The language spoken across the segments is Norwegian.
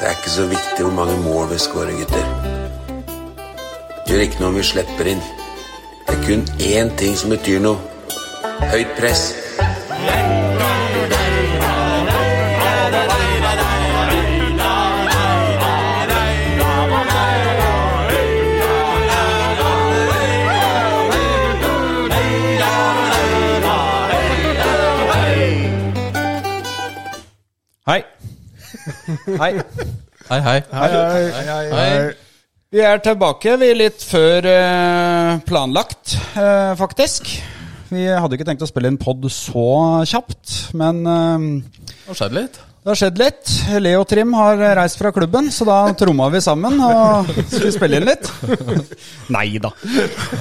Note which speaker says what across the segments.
Speaker 1: Det er ikke så viktig hvor mange mål vi skårer, gutter. Det gjør ikke noe om vi slipper inn. Det er kun én ting som betyr noe. Høyt press.
Speaker 2: Hei. Hei.
Speaker 3: Hei, hei.
Speaker 4: Hei, hei, hei, hei.
Speaker 2: Vi er tilbake, vi er litt før eh, planlagt, eh, faktisk. Vi hadde ikke tenkt å spille inn pod så kjapt, men eh,
Speaker 3: Nå skjedde litt.
Speaker 2: det har skjedd litt. Leo og Trim har reist fra klubben, så da tromma vi sammen og skulle spille inn litt. Nei da.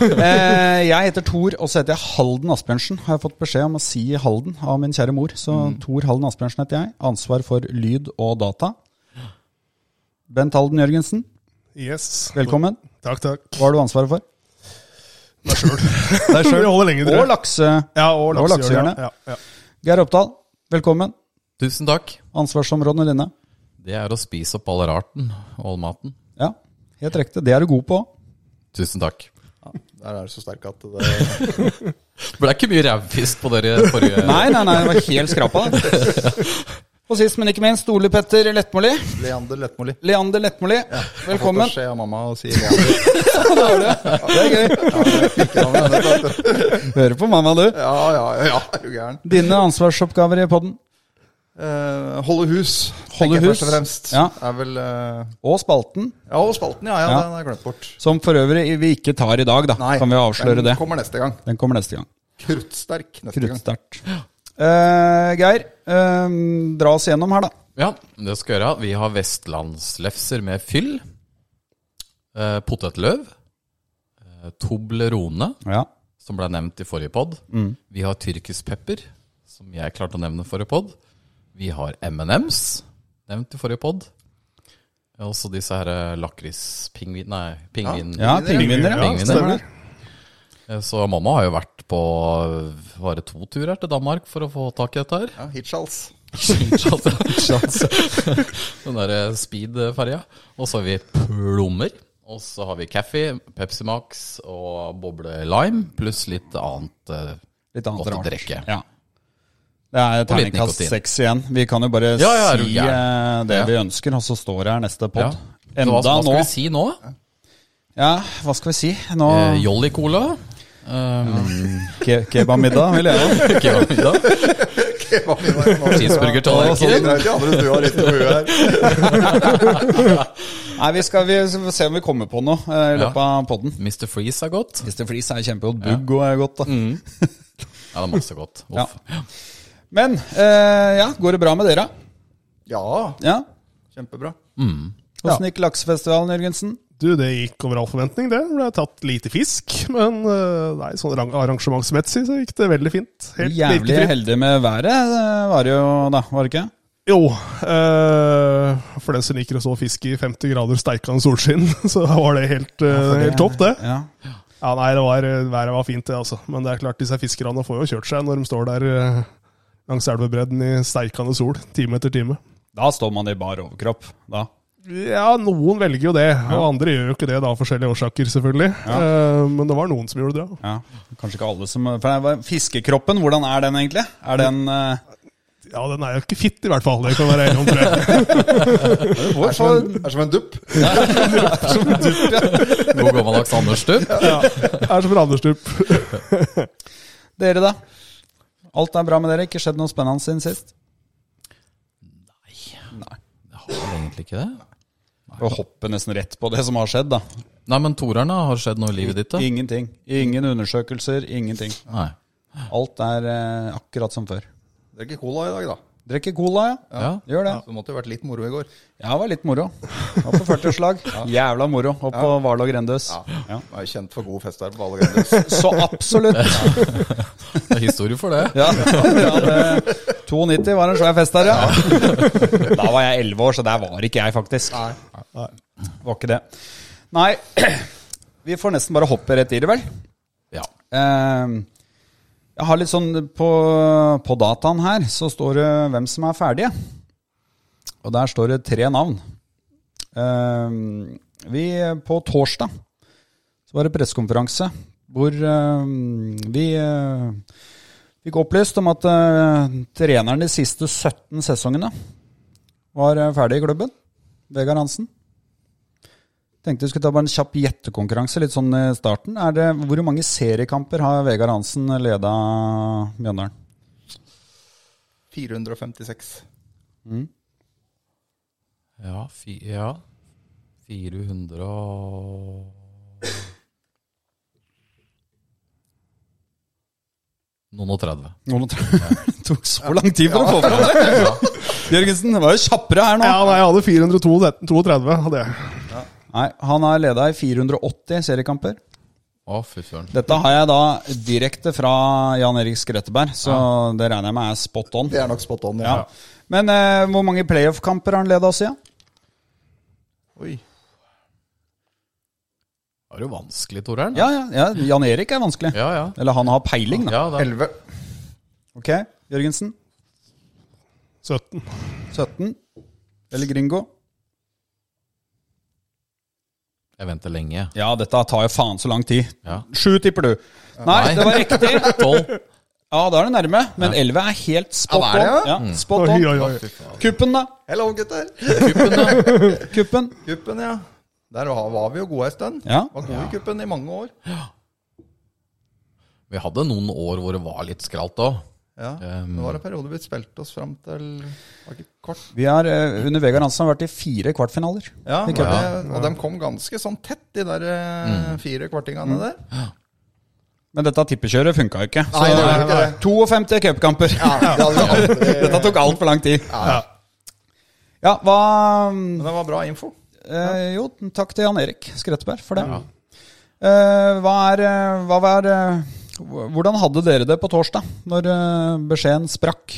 Speaker 2: Eh, jeg heter Tor, og så heter jeg Halden Asbjørnsen. Har jeg fått beskjed om å si Halden av min kjære mor. Så Tor Halden Asbjørnsen heter jeg. Ansvar for lyd og data. Bent Halden Jørgensen,
Speaker 4: Yes.
Speaker 2: velkommen.
Speaker 4: Takk, takk.
Speaker 2: Hva har du ansvaret for?
Speaker 4: Meg sjøl. Vi holder lenge, tror
Speaker 2: Og
Speaker 4: jeg.
Speaker 2: lakse.
Speaker 4: Ja, og
Speaker 2: og
Speaker 4: laksehjørnet.
Speaker 2: laksehjørnet.
Speaker 4: Ja, ja.
Speaker 2: Geir Oppdal, velkommen.
Speaker 3: Tusen takk.
Speaker 2: Ansvarsområdene dine.
Speaker 3: Det er å spise opp all rarten og all maten.
Speaker 2: Ja, helt riktig. Det er du god på.
Speaker 3: Tusen takk.
Speaker 5: Der er du så sterk at det
Speaker 3: Det ble ikke mye rævfisk på dere forrige
Speaker 2: Nei, nei, nei, det var helt skrapa. Og sist, men ikke minst, Ole Petter Lettmoli.
Speaker 5: Leander Lettmoli.
Speaker 2: Leander Lettmoli,
Speaker 5: Fått
Speaker 2: velkommen.
Speaker 5: beskjed av mamma og sier Leander.
Speaker 2: Det er gøy.
Speaker 5: Ikke noe med det, vet du.
Speaker 2: Hører på mamma, du.
Speaker 5: Ja, ja, ja, ja, er du gæren.
Speaker 2: Dine ansvarsoppgaver i podden.
Speaker 5: Eh, holde hus,
Speaker 2: Holde
Speaker 5: tenker jeg
Speaker 2: hus.
Speaker 5: først og fremst.
Speaker 2: Ja.
Speaker 5: Er vel eh,
Speaker 2: Og spalten,
Speaker 5: Ja, og spalten, ja. ja,
Speaker 2: Ja.
Speaker 5: Den har jeg glemt bort.
Speaker 2: som for øvrig vi ikke tar i dag, da. Kan vi avsløre
Speaker 5: den
Speaker 2: det.
Speaker 5: kommer neste gang.
Speaker 2: Den kommer neste gang.
Speaker 5: Kruttsterk neste gang.
Speaker 2: Kruttsterkt. Eh, Geir, eh, dra oss gjennom her, da.
Speaker 3: Ja, det skal jeg gjøre. Vi har vestlandslefser med fyll. Eh, potetløv. Eh, Toblerone,
Speaker 2: Ja.
Speaker 3: som ble nevnt i forrige pod.
Speaker 4: Mm.
Speaker 3: Vi har tyrkisk pepper, som jeg klarte å nevne i forrige pod. Vi har M&M's, nevnt i forrige pod. Og så disse her eh, lakrispingvin... Nei, pingvin...
Speaker 2: Ja, pingviner. Ja,
Speaker 3: Pingviner.
Speaker 2: stemmer det.
Speaker 3: Eh, Så mamma har jo vært på eh, bare to turer til Danmark for å få tak i dette her.
Speaker 5: Ja, Hitchhals.
Speaker 3: Den der eh, speed-ferja. Og så har vi plommer. Og så har vi kaffe, Pepsi Max og boble lime, pluss litt annet. eh,
Speaker 2: Litt annet
Speaker 3: Godt å
Speaker 2: rart.
Speaker 3: drikke.
Speaker 2: Ja. Det er
Speaker 3: Og litt
Speaker 2: terningkast
Speaker 3: nikotin.
Speaker 2: seks igjen. Vi kan jo bare
Speaker 3: Ja, ja, er du
Speaker 2: si eh,
Speaker 3: gæren?
Speaker 2: det
Speaker 3: Ja.
Speaker 2: vi ønsker, og så står det her neste pod.
Speaker 3: Ja. Så hva,
Speaker 2: Enda
Speaker 3: hva
Speaker 2: nå.
Speaker 3: skal vi si nå?
Speaker 2: Ja, hva skal vi si? Nå
Speaker 3: Eh, Jolly Cola. Um,
Speaker 2: ke Kebabmiddag, vil jeg ha.
Speaker 3: Cheeseburger-tallerkener.
Speaker 5: Hva mener jeg nå? Sånn, det er de andre stua litt på huet her.
Speaker 2: Nei, vi skal vi får se om vi kommer på noe eh, i
Speaker 3: Ja.
Speaker 2: løpet av poden.
Speaker 3: Mr. Freeze er godt.
Speaker 2: Mr. Freeze er kjempegodt. Bugg og er godt, da.
Speaker 3: Mm. Ja, det er masse godt. Uff.
Speaker 2: Men eh, ja, går det bra med dere?
Speaker 5: Ja,
Speaker 2: Ja?
Speaker 5: kjempebra.
Speaker 2: Åssen gikk laksefestivalen, Jørgensen?
Speaker 4: Du, det gikk over all forventning, det. Det Ble tatt lite fisk, men eh, nei, sånn arrang- arrangementsmessig så gikk det veldig fint. Helt
Speaker 2: Jævlig
Speaker 4: virkefritt.
Speaker 2: heldig med været eh, var det jo da, var det ikke?
Speaker 4: Jo. eh, for den som liker å så fisk i 50 grader steikende solskinn, så var det helt, eh, helt topp, det.
Speaker 2: Ja.
Speaker 4: Ja, nei, det var, Været var fint, det, altså. Men det er klart, disse fiskerne får jo kjørt seg når de står der eh, langs elvebredden i steikende sol, time etter time.
Speaker 2: Da står man i bar overkropp. Da.
Speaker 4: Ja, noen velger jo det, og andre gjør jo ikke det da, av forskjellige årsaker, selvfølgelig. Eh, men det var noen som gjorde det. ja.
Speaker 2: Ja, Kanskje ikke alle som For det var- Fiskekroppen, hvordan er den egentlig? Er den eh,
Speaker 4: Ja, den er jo ikke fitt, i hvert fall. Det kan være enig om det.
Speaker 5: Er som en, er som en dupp.
Speaker 3: God gammeldags Anders Stubb.
Speaker 4: er som en Anderstup.
Speaker 2: Dere, da? Alt er bra med dere? Ikke skjedd noe spennende siden sist?
Speaker 3: Jeg har vel egentlig ikke det.
Speaker 2: Å hoppe nesten rett på det som har skjedd, da.
Speaker 3: Nei, men Torerne, har det skjedd noe i livet ditt? da?
Speaker 2: Ingenting. Ingen undersøkelser, ingenting.
Speaker 3: Nei.
Speaker 2: Alt er eh, akkurat som før.
Speaker 5: Drikker cola i dag, da.
Speaker 2: Drikker cola, ja.
Speaker 3: Ja.
Speaker 2: Gjør det.
Speaker 5: Så det måtte jo vært litt moro i går.
Speaker 2: Ja, det var litt moro. Var på 40-årslag. Jævla moro. Opp på Hvarlo Grendøs. Ja.
Speaker 5: Jeg er jo kjent for god fest der på alle grenser.
Speaker 2: Så absolutt.
Speaker 3: Det er historie for det.
Speaker 2: Ja, ja det, 92 var en svær fest der, ja. Da var jeg 11 år, så der var ikke jeg, faktisk. Nei. Var ikke det. Nei, vi får nesten bare hoppe rett i det, vel.
Speaker 3: Ja.
Speaker 2: Eh, Jeg har litt sånn på, på dataen her, så står det hvem som er ferdige. Og der står det tre navn. Ehm, vi, på torsdag så var det pressekonferanse hvor ehm, vi eh, fikk opplyst om at eh, treneren de siste 17 sesongene var eh, ferdig i klubben. Vegard Hansen. Tenkte vi skulle ta bare en kjapp gjettekonkurranse litt sånn i starten. Er det, hvor mange seriekamper har Vegard Hansen leda Mjøndalen?
Speaker 5: 456.
Speaker 3: Ja, fi, ja. 400 og Noen og 30.
Speaker 2: Noen og tre- Det tok så lang tid for å få fram det! Jørgensen, det var jo kjappere her nå.
Speaker 4: Ja, nei, jeg hadde 432, hadde jeg.
Speaker 2: Nei, Han har leda i 480 seriekamper.
Speaker 3: Å, fy søren.
Speaker 2: Dette har jeg da direkte fra Jan Erik Skretteberg, så det regner jeg med er spot on.
Speaker 5: Det er nok spot on, ja.
Speaker 2: Ja. Men eh, hvor mange playoff-kamper har han leda siden?
Speaker 5: Oi.
Speaker 3: Det var jo vanskelig, Toreren.
Speaker 2: Ja, ja, ja, Jan Erik er vanskelig.
Speaker 3: ja. ja.
Speaker 2: Eller han har peiling, da.
Speaker 3: ja det er
Speaker 5: 11.
Speaker 2: Ok, Jørgensen.
Speaker 4: 17.
Speaker 2: 17. Eller Gringo.
Speaker 3: Jeg venter lenge.
Speaker 2: Ja, dette tar jo faen så lang tid.
Speaker 3: Ja.
Speaker 2: Sju, tipper du. Nei,
Speaker 3: Nei.
Speaker 2: det var riktig.
Speaker 3: 12.
Speaker 2: Ja, da er du nærme. Men elleve er helt spot
Speaker 5: Ja, det er
Speaker 2: on.
Speaker 5: det,
Speaker 2: Ja, Mm. spot
Speaker 4: Oi,
Speaker 2: on.
Speaker 4: oi, oi.
Speaker 2: Kuppen, da.
Speaker 5: Hello, gutter.
Speaker 2: Kuppen.
Speaker 5: Kuppen, ja. Der var- var vi jo gode en stund.
Speaker 2: Ja.
Speaker 5: Var gode i kuppen i mange år.
Speaker 3: Vi hadde noen år hvor det var litt skralt òg.
Speaker 5: Ja.
Speaker 3: Um,
Speaker 5: Nå var det perioder vi spilte oss fram til var ikke kort.
Speaker 2: Vi har eh, under Vegard Hansen har vært i fire kvartfinaler.
Speaker 5: Ja,
Speaker 2: I
Speaker 5: og,
Speaker 2: cupen.
Speaker 5: det, og de kom ganske sånn tett, de der eh, fire kvartingene der.
Speaker 2: Men dette tippekjøret funka ikke. Så eh,
Speaker 5: Nei, det var ikke det.
Speaker 2: 52 cupkamper.
Speaker 5: Ja, det hadde vi aldri.
Speaker 2: Dette tok altfor lang tid.
Speaker 5: Ja.
Speaker 2: Ja, hva
Speaker 5: Men det var bra info.
Speaker 2: eh, Jo, takk til Jan Erik Skretteberg for det. Eh, hva er eh, Hva var eh, Hvordan hadde dere det på torsdag, når eh, beskjeden sprakk?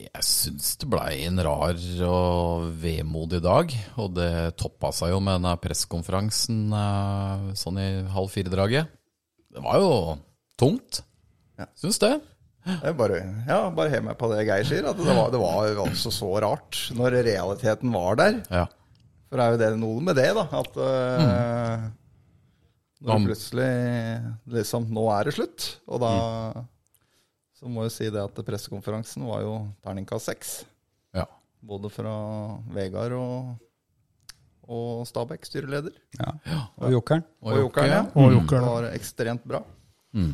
Speaker 3: Jeg syns det blei en rar og vemodig dag. Og det toppa seg jo med denne pressekonferansen eh, sånn i halv fire-draget. Det var jo tungt.
Speaker 5: Ja.
Speaker 3: Syns det.
Speaker 5: Jeg bare, ja, bare hev meg på det Geir sier, at det var, det var jo altså så rart når realiteten var der.
Speaker 3: Ja.
Speaker 5: For det er jo det noe med det, da. At eh, når
Speaker 3: Om-
Speaker 5: det plutselig liksom Nå er det slutt. Og da så må jeg si det at pressekonferansen var jo terningkast seks.
Speaker 3: ja.
Speaker 5: Både fra Vegard og, og Stabæk, styreleder.
Speaker 2: Ja. Og jokeren?
Speaker 5: Og Jokeren, ja.
Speaker 4: Og
Speaker 5: Det
Speaker 4: jokeren, ja.
Speaker 5: var ekstremt bra.
Speaker 3: Mm.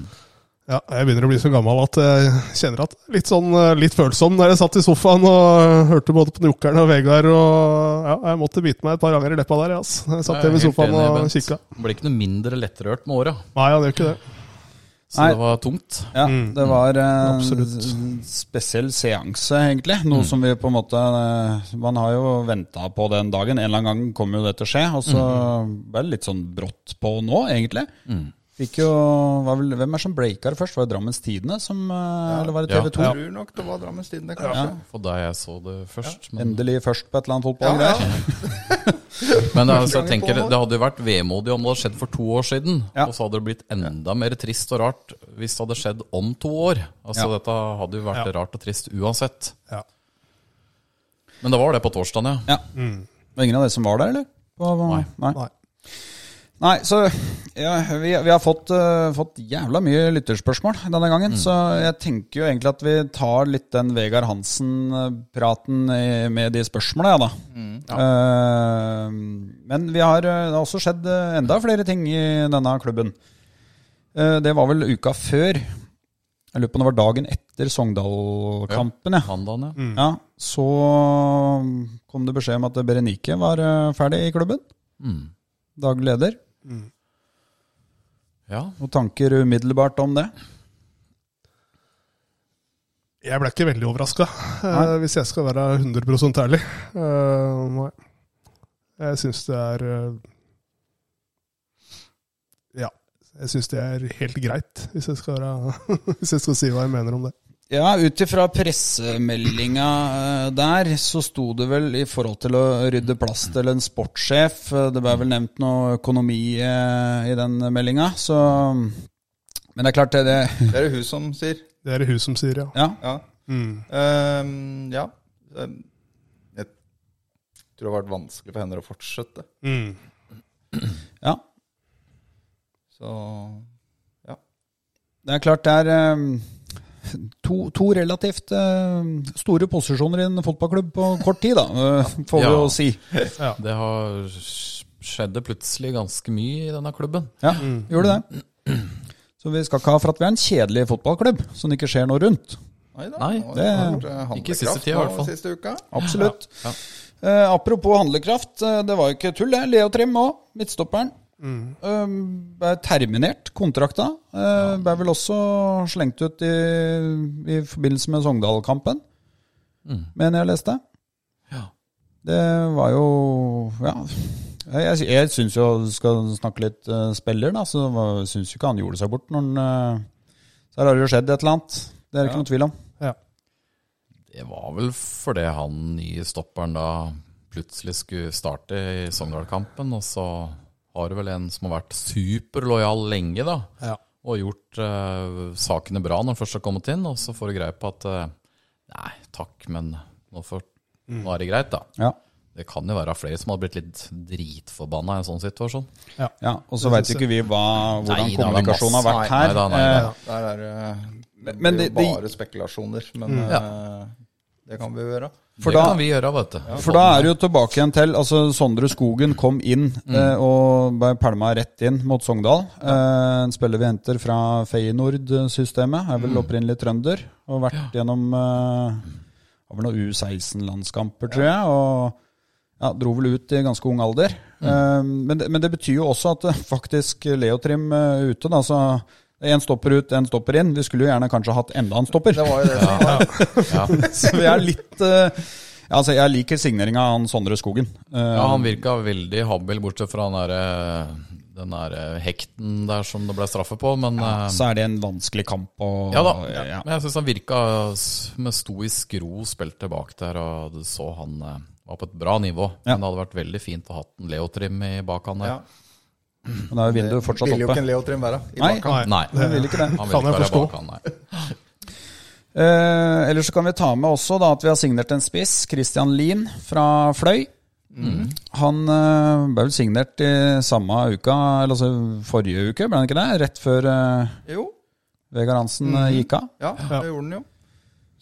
Speaker 4: Ja, jeg begynner å bli så gammel at jeg kjenner at litt sånn eh, litt følsom når jeg satt i sofaen og hørte både på Jokeren og Vegard og ja, Jeg måtte bite meg et par ganger i leppa der, jeg, ass. Jeg satt
Speaker 3: Jeg er
Speaker 4: hjemme i
Speaker 3: helt
Speaker 4: sofaen
Speaker 3: enig,
Speaker 4: og
Speaker 3: Bent.
Speaker 4: kikka.
Speaker 3: Det Blir ikke noe mindre lettrørt med åra.
Speaker 4: Nei, han gjør ikke det.
Speaker 3: Så
Speaker 2: Nei.
Speaker 3: det var tungt.
Speaker 2: Ja, det var
Speaker 3: Mm,
Speaker 2: eh,
Speaker 4: absolutt.
Speaker 2: en spesiell seanse, egentlig. Noe som vi på en måte eh, Man har jo venta på den dagen. En eller annen gang kommer jo det til å skje. Og så
Speaker 3: Mm.
Speaker 2: ble det litt sånn brått på nå, egentlig. Fikk jo var vel, Hvem er som breaka det først? Var det Drammens Tidende som eh, Eller var det
Speaker 3: Ja.
Speaker 2: TV 2?
Speaker 5: Jeg tror nok det var Drammens Tidende, kanskje.
Speaker 3: For da jeg så det først. Men,
Speaker 2: Endelig først på et eller annet
Speaker 5: Ja, ja.
Speaker 2: fotballgreier.
Speaker 3: men altså, jeg
Speaker 5: Gangen på
Speaker 3: tenker,
Speaker 5: nå.
Speaker 3: det hadde jo vært vemodig om det hadde skjedd for to år siden.
Speaker 2: Ja.
Speaker 3: Og så hadde det blitt enda mer trist og rart hvis det hadde skjedd om to år. Altså
Speaker 2: Ja.
Speaker 3: Dette hadde jo vært
Speaker 4: Ja.
Speaker 3: rart og trist uansett.
Speaker 4: Ja.
Speaker 3: Men det var det på torsdagen, ja.
Speaker 2: Ja. Det var ingen av dere som var der, eller? Hva- hva-
Speaker 3: Nei.
Speaker 2: Nei.
Speaker 4: Nei.
Speaker 2: Nei, så ja, vi, vi har fått, eh, fått jævla mye lytterspørsmål denne gangen. Så jeg tenker jo egentlig at vi tar litt den Vegard Hansen-praten i- med de spørsmåla, ja da. Eh, men vi har, eh, det har også skjedd eh, enda flere ting i denne klubben. Eh, det var vel uka før. Jeg lurer på om det var dagen etter Sogndal-kampen, ja.
Speaker 3: Mandagen, ja.
Speaker 2: Ja, så kom det beskjed om at Berenike var eh, ferdig i klubben.
Speaker 3: Mm.
Speaker 2: Daglig leder.
Speaker 3: ja.
Speaker 2: Noen tanker umiddelbart om det?
Speaker 4: Jeg ble ikke veldig overraska,
Speaker 2: Nei.
Speaker 4: hvis jeg skal være 100 ærlig. Eh, Nei. Jeg syns det er eh, Ja. Jeg syns det er helt greit, hvis jeg, skal være, hvis jeg skal si hva jeg mener om det.
Speaker 2: Ja, ut ifra pressemeldinga eh, der, så sto det vel i forhold til å rydde plass til en sportssjef. eh, Det ble vel nevnt noe økonomi eh, i den meldinga, så Men det er klart, det, det
Speaker 5: Det er det hun som sier.
Speaker 4: Det er det hun som Mm, sier, ja.
Speaker 2: Ja.
Speaker 5: Ja.
Speaker 4: Mm.
Speaker 5: Ehm, ja. Ehm, jeg tror det har vært vanskelig for henne å fortsette.
Speaker 4: Mm.
Speaker 2: Ja,
Speaker 5: Så
Speaker 2: Det er klart det er eh, to, to relativt eh, store posisjoner i en fotballklubb på kort tid, da, eh, får vi
Speaker 3: Ja.
Speaker 2: jo si.
Speaker 3: Det har skjedd plutselig ganske mye i denne klubben.
Speaker 2: Ja, gjorde det. Så vi skal ikke ha for at vi er en kjedelig fotballklubb, som det ikke skjer noe rundt.
Speaker 5: nei da.
Speaker 3: Nei,
Speaker 5: nå har
Speaker 2: det-
Speaker 5: vært, eh,
Speaker 3: Ikke siste tida,
Speaker 5: handlekraft
Speaker 3: i
Speaker 5: nå
Speaker 3: hvert fall.
Speaker 5: Siste uka.
Speaker 2: Absolutt.
Speaker 3: Ja, ja.
Speaker 2: Eh, apropos handlekraft, eh, det var jo ikke tull, det. Leo Trim òg, midtstopperen.
Speaker 3: Mm.
Speaker 2: eh, ble terminert kontrakta. Eh, Ble vel også slengt ut i, i forbindelse med Sogndal-kampen, mener jeg leste.
Speaker 3: Mm. Ja.
Speaker 2: Det var jo Ja. Jeg, jeg- jeg syns jo, skal snakke litt eh, spiller, da, så syns jo ikke han gjorde seg bort når han eh, Så her har det jo skjedd et eller annet. Det er det ikke noe tvil om.
Speaker 4: Ja.
Speaker 3: Det var vel fordi han nye stopperen da plutselig skulle starte i Sogndal-kampen, og så har det vel en som har vært superlojal lenge, da,
Speaker 4: Ja.
Speaker 3: og gjort eh, sakene bra når han først har kommet inn, og så får du greie på at eh, Nei, takk, men nå, får, nå er det greit, da.
Speaker 2: Ja.
Speaker 3: Det kan jo være flere som hadde blitt litt dritforbanna i en sånn situasjon.
Speaker 4: Ja.
Speaker 2: Ja, og så veit jo ikke vi hva, hvordan
Speaker 3: Nei, det er vel
Speaker 2: kommunikasjonen har vært
Speaker 3: masse-
Speaker 2: her.
Speaker 3: Nei, nei, nei, nei.
Speaker 2: Eh,
Speaker 5: Der er det, det
Speaker 2: Men
Speaker 5: blir
Speaker 2: det-
Speaker 5: jo bare spekulasjoner. Men
Speaker 3: Mm.
Speaker 5: eh, det kan vi jo gjøre.
Speaker 2: For
Speaker 3: det
Speaker 2: da-
Speaker 3: kan vi gjøre, vet du.
Speaker 2: For da er det jo tilbake igjen til altså Sondre Skogen kom inn eh, og ble pælma rett inn mot Sogndal. Eh, en spiller vi henter fra Feyenoord-systemet. Er vel opprinnelig trønder. Og vært gjennom eh, har vel noen U16-landskamper, tror jeg. Og ja, dro vel ut i ganske ung alder. Eh, men, det- men det betyr jo også at eh, faktisk Leotrim eh, ute, da, så en stopper ut, en stopper inn. Vi skulle jo gjerne kanskje hatt enda en stopper.
Speaker 5: Det var jo det som var.
Speaker 2: Så vi er litt eh, ja, altså Jeg liker signeringa av han Sondre Skogen. Eh,
Speaker 3: Ja, han virka veldig habil, bortsett fra den der, eh, den der eh, hekten der som det ble straffe på. Men eh,
Speaker 2: Så er det en vanskelig kamp å
Speaker 3: ja da.
Speaker 2: ja.
Speaker 3: Men jeg syns han virka s- med stoisk ro spilt tilbake der, og du så han eh, var på et bra nivå.
Speaker 2: Ja.
Speaker 3: Men det hadde vært veldig fint å ha en Leotrim i bak han der.
Speaker 5: Ja.
Speaker 2: Men da er vinduet fortsatt
Speaker 5: Ville jo ikke
Speaker 2: oppe.
Speaker 5: en Leo Trim være i
Speaker 2: Nei.
Speaker 5: bakkamp.
Speaker 4: Nei.
Speaker 3: Nei,
Speaker 2: Han vil ikke det.
Speaker 3: han
Speaker 4: Kan
Speaker 3: ville
Speaker 4: jeg
Speaker 3: ikke være
Speaker 4: forstå.
Speaker 3: bak han, nei.
Speaker 2: Eh, ellers så kan vi ta med også da at vi har signert en spiss, Christian Lien fra Fløy.
Speaker 3: Mm.
Speaker 2: Han eh, ble vel signert i samme uka, eller altså forrige uke, ble han ikke det? Rett før eh,
Speaker 5: Jo,
Speaker 2: Vegard Hansen eh,
Speaker 5: Mm.
Speaker 2: gikk av.
Speaker 5: ja, det gjorde den jo.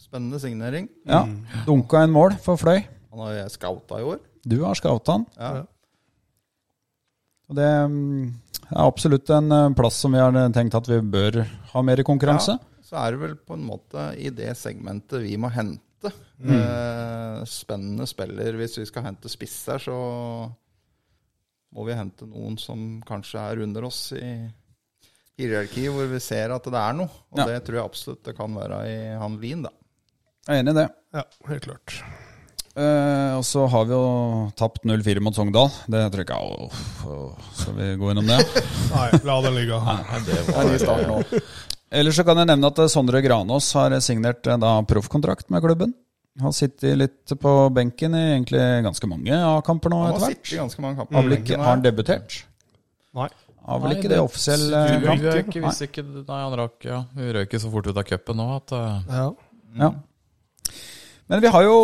Speaker 5: Spennende signering.
Speaker 2: Ja, Dunka en mål for Fløy.
Speaker 5: Han har jo scouta i år.
Speaker 2: Du har scouta han.
Speaker 5: Ja.
Speaker 2: Og det mm, er absolutt en eh, plass som vi har eh, tenkt at vi bør ha mer i konkurranse.
Speaker 5: Ja, så er det vel på en måte i det segmentet vi må hente.
Speaker 2: Mm.
Speaker 5: Eh, spennende spiller. Hvis vi skal hente spisser, så må vi hente noen som kanskje er under oss i hierarkiet, hvor vi ser at det er noe. Og
Speaker 2: Ja.
Speaker 5: det tror jeg absolutt det kan være i han Lien, da.
Speaker 2: Jeg er enig i det.
Speaker 4: ja, helt klart.
Speaker 2: Eh, og så har vi jo tapt 0-4 mot Sogndal. Det tror jeg ikke åh, åh, Skal vi gå innom det?
Speaker 4: Nei, la den ligge.
Speaker 3: Nei, det var-
Speaker 5: Det er ny start nå.
Speaker 2: Ellers så kan jeg nevne at eh, Sondre Granås har signert eh, da proffkontrakt med klubben. Har sittet litt på benken i egentlig ganske mange A-kamper nå
Speaker 5: Han
Speaker 2: etter
Speaker 5: har
Speaker 2: hvert.
Speaker 5: sittet i ganske mange kamper. eh,
Speaker 2: Har, vel ikke, har han debutert?
Speaker 4: Nei.
Speaker 2: Har vel
Speaker 3: Nei,
Speaker 2: ikke det offisiell
Speaker 3: tror
Speaker 2: eh,
Speaker 3: jeg
Speaker 4: kamp,
Speaker 3: ikke, hvis ikke, nei, han rakk, ja. Vi røyk jo så fort ut av cupen nå at eh,
Speaker 4: Ja.
Speaker 2: Mm. Ja. Men vi har jo